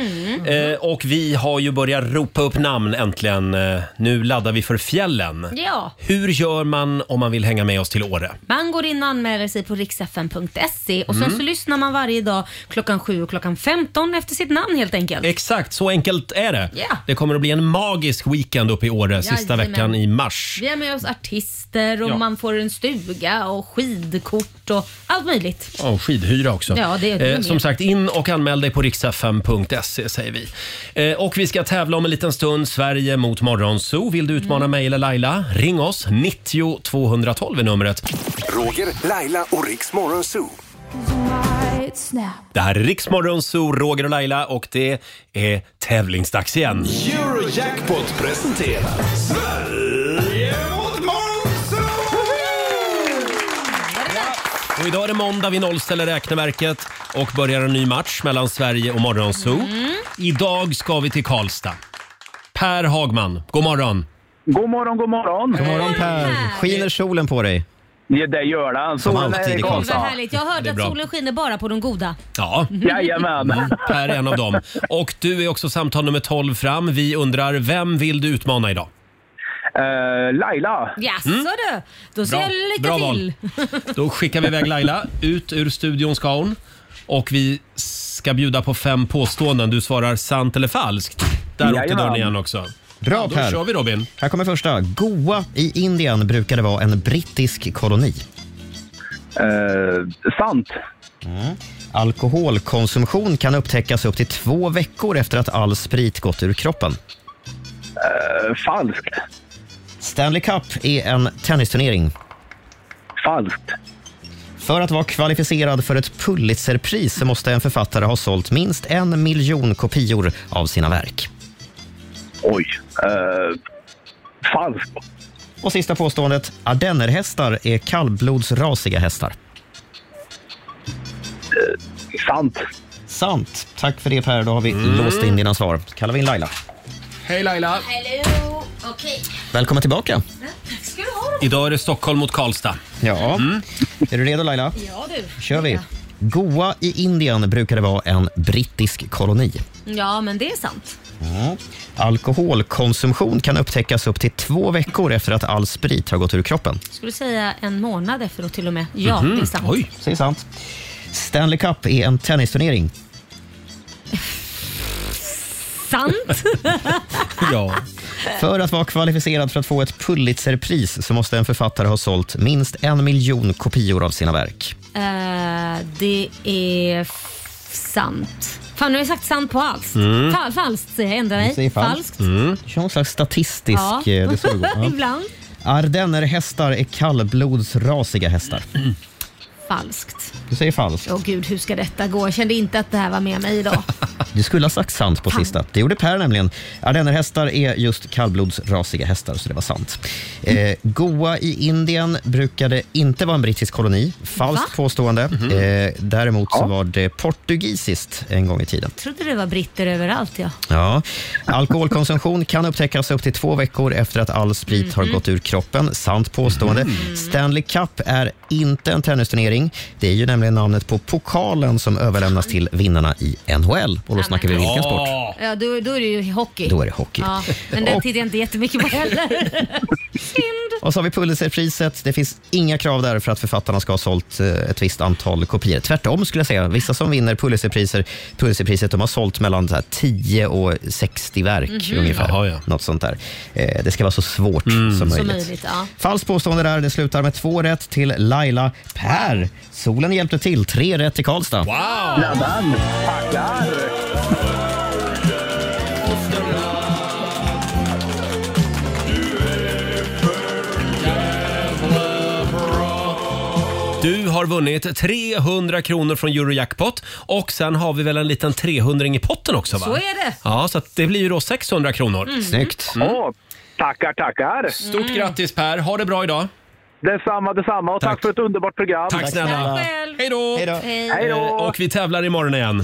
[SPEAKER 1] Eh, och vi har ju börjat ropa upp namn äntligen. Eh, nu laddar vi för fjällen.
[SPEAKER 2] Ja.
[SPEAKER 1] Hur gör man om man vill hänga med oss till Åre?
[SPEAKER 2] Man går in och anmäler sig på riksfn.se och sen
[SPEAKER 1] Mm.
[SPEAKER 2] så lyssnar man varje dag klockan 7 och klockan 15 efter sitt namn helt enkelt.
[SPEAKER 1] Exakt, så enkelt är det.
[SPEAKER 2] Ja.
[SPEAKER 1] Det kommer att bli en magisk weekend uppe i Åre sista
[SPEAKER 2] Jajamän.
[SPEAKER 1] veckan i mars.
[SPEAKER 2] Vi har med oss artister och
[SPEAKER 1] Ja.
[SPEAKER 2] man får en stuga och skidkort och allt möjligt.
[SPEAKER 1] Ja, och skidhyra också. Eh,
[SPEAKER 2] Ja, det är det med.
[SPEAKER 1] som sagt, in och anmäl dig på riksfm.se säger vi. Eh, och vi ska tävla om en liten stund. Sverige mot Morgonzoo. Vill du utmana
[SPEAKER 2] Mm.
[SPEAKER 1] mig eller Laila? Ring oss. 90 212 är numret.
[SPEAKER 3] Roger, Laila och Riks Morgonzoo.
[SPEAKER 1] Det här är Riksmorgonzoo, Roger och Laila och det är tävlingsdags igen.
[SPEAKER 8] Eurojackpot presenterar Sverige mot
[SPEAKER 1] Och idag är det måndag, vi nollställer räkneverket och börjar en ny match mellan Sverige och Morgonzoo. Idag ska vi till Karlstad. Per Hagman, god morgon.
[SPEAKER 17] God morgon, god morgon.
[SPEAKER 5] God morgon Per. Skiner solen på dig?
[SPEAKER 17] Ja, det gör den.
[SPEAKER 5] Som
[SPEAKER 17] Solen är
[SPEAKER 5] alltid i
[SPEAKER 17] i
[SPEAKER 2] Gud,
[SPEAKER 5] Karlstad.
[SPEAKER 2] vad härligt. Jag
[SPEAKER 1] Det
[SPEAKER 2] hörde
[SPEAKER 1] är
[SPEAKER 2] att
[SPEAKER 1] bra.
[SPEAKER 2] solen skiner bara på de goda.
[SPEAKER 1] Ja.
[SPEAKER 17] Jajamän.
[SPEAKER 1] Mm, Per är en av dem. Och du är också samtal nummer 12 fram. Vi undrar, vem vill du utmana idag?
[SPEAKER 17] eh, Laila.
[SPEAKER 2] Jaså
[SPEAKER 1] Mm.
[SPEAKER 2] du? Då
[SPEAKER 1] Bra.
[SPEAKER 2] säger jag lycka
[SPEAKER 1] Bra val.
[SPEAKER 2] till.
[SPEAKER 1] Då skickar vi iväg Laila. Ut ur studion ska hon. Och vi ska bjuda på fem påståenden. Du svarar sant eller falskt. Där åkte
[SPEAKER 5] Jajamän.
[SPEAKER 1] dörren igen också.
[SPEAKER 5] Bra
[SPEAKER 1] Då
[SPEAKER 5] Per.
[SPEAKER 1] kör vi Robin.
[SPEAKER 5] Här kommer första. Goa i Indien brukade vara en brittisk koloni.
[SPEAKER 17] Eh, sant.
[SPEAKER 5] Alkoholkonsumtion kan upptäckas upp till två veckor efter att all sprit gått ur kroppen.
[SPEAKER 17] Eh, falskt.
[SPEAKER 5] Stanley Cup är en tennisturnering.
[SPEAKER 17] Falskt.
[SPEAKER 5] För att vara kvalificerad för ett Pulitzerpris så måste en författare ha sålt minst en miljon kopior av sina verk.
[SPEAKER 17] Oj. Eh, falskt.
[SPEAKER 5] Och sista påståendet. Ardennerhästar är kallblodsrasiga hästar.
[SPEAKER 17] sant.
[SPEAKER 5] Sant. Tack för det Per. Då har vi låst in dina svar. Så kallar vi in Laila.
[SPEAKER 1] Hej Laila!
[SPEAKER 2] Hello! Okej.
[SPEAKER 5] Välkommen tillbaka.
[SPEAKER 2] Ska du ha dem?
[SPEAKER 1] Idag är det Stockholm mot Karlstad.
[SPEAKER 5] Ja. Mm. Är du redo Laila?
[SPEAKER 2] Ja du.
[SPEAKER 5] kör vi. Goa i Indien brukade vara en brittisk koloni.
[SPEAKER 2] Ja, men det är sant.
[SPEAKER 5] Mm. Alkoholkonsumtion kan upptäckas upp till två veckor efter att all sprit har gått ur kroppen.
[SPEAKER 2] Skulle säga en månad efteråt till och med. Ja,
[SPEAKER 5] Mhm.
[SPEAKER 2] det är sant.
[SPEAKER 5] Det är sant. Stanley Cup är en tennisturnering.
[SPEAKER 2] Sant?
[SPEAKER 5] Ja. För att vara kvalificerad för att få ett Pulitzerpris så måste en författare ha sålt minst en miljon kopior av sina verk.
[SPEAKER 2] Eh, det är f- sant. Fan, nu har jag sagt sant på allt.
[SPEAKER 5] Mm.
[SPEAKER 2] Fa- falskt säger jag. Ändra mig.
[SPEAKER 5] Du säger
[SPEAKER 2] falskt.
[SPEAKER 5] Mm. Du kör någon slags statistisk... eh, Det är så det går. ja.
[SPEAKER 2] Ibland.
[SPEAKER 5] Ardennerhästar är kallblodsrasiga hästar.
[SPEAKER 2] Falskt.
[SPEAKER 5] Du säger falskt.
[SPEAKER 2] Åh gud, hur ska detta gå? Jag kände inte att det här var med mig
[SPEAKER 5] <laughs>
[SPEAKER 2] idag.
[SPEAKER 5] Du skulle ha sagt sant på sista. Det gjorde Per nämligen. Ardennerhästar är just kallblodsrasiga hästar, så det var sant. Eh, Goa i Indien brukade inte vara en brittisk koloni. Falskt påstående. Eh, däremot så var det portugisiskt en gång i tiden.
[SPEAKER 2] Jag trodde det var britter överallt, ja.
[SPEAKER 5] Ja. Alkoholkonsumtion kan upptäckas upp till två veckor efter att all sprit har
[SPEAKER 2] Mhm. Mm.
[SPEAKER 5] gått ur kroppen. Sant påstående. Stanley Cup är inte en tennisturnering. Det är ju nämligen namnet på pokalen som överlämnas till vinnarna i NHL. Och då snackar vi vilken sport?
[SPEAKER 2] Ja, då, då är det ju hockey.
[SPEAKER 5] Då är det hockey.
[SPEAKER 2] Ja, men den
[SPEAKER 5] <laughs> Och-
[SPEAKER 2] tittar jag inte jättemycket på
[SPEAKER 5] <laughs>
[SPEAKER 2] heller.
[SPEAKER 5] Och så har vi Pulitzerpriset. Det finns inga krav där för att författarna ska ha sålt eh, ett visst antal kopior. Tvärtom skulle jag säga. Vissa som vinner Pulitzerpriser, Pulitzerpriset de har sålt mellan så här 10 och 60 verk
[SPEAKER 2] Mhm.
[SPEAKER 5] ungefär.
[SPEAKER 2] Jaha,
[SPEAKER 5] Något sånt där. Eh, Det ska vara så svårt som
[SPEAKER 2] Så
[SPEAKER 5] möjligt.
[SPEAKER 2] möjligt, ja.
[SPEAKER 5] Falskt påstående där. Det slutar med två rätt till Laila. Per, solen hjälpte till. Tre rätt till Karlstad.
[SPEAKER 17] Jajamän. Tackar.
[SPEAKER 1] Du har vunnit 300 kronor från Eurojackpot och sen har vi väl en liten 300 i potten också va?
[SPEAKER 2] Så är det.
[SPEAKER 1] Ja, så att det blir ju då 600 kronor.
[SPEAKER 2] Mm.
[SPEAKER 5] Snyggt.
[SPEAKER 17] tackar, tackar.
[SPEAKER 1] Stort grattis Per, ha det bra idag.
[SPEAKER 17] Detsamma, detsamma och tack, för ett underbart program.
[SPEAKER 1] Tack snälla. Hej då!
[SPEAKER 17] Hej. Hej då.
[SPEAKER 1] Eh, Och vi tävlar imorgon igen.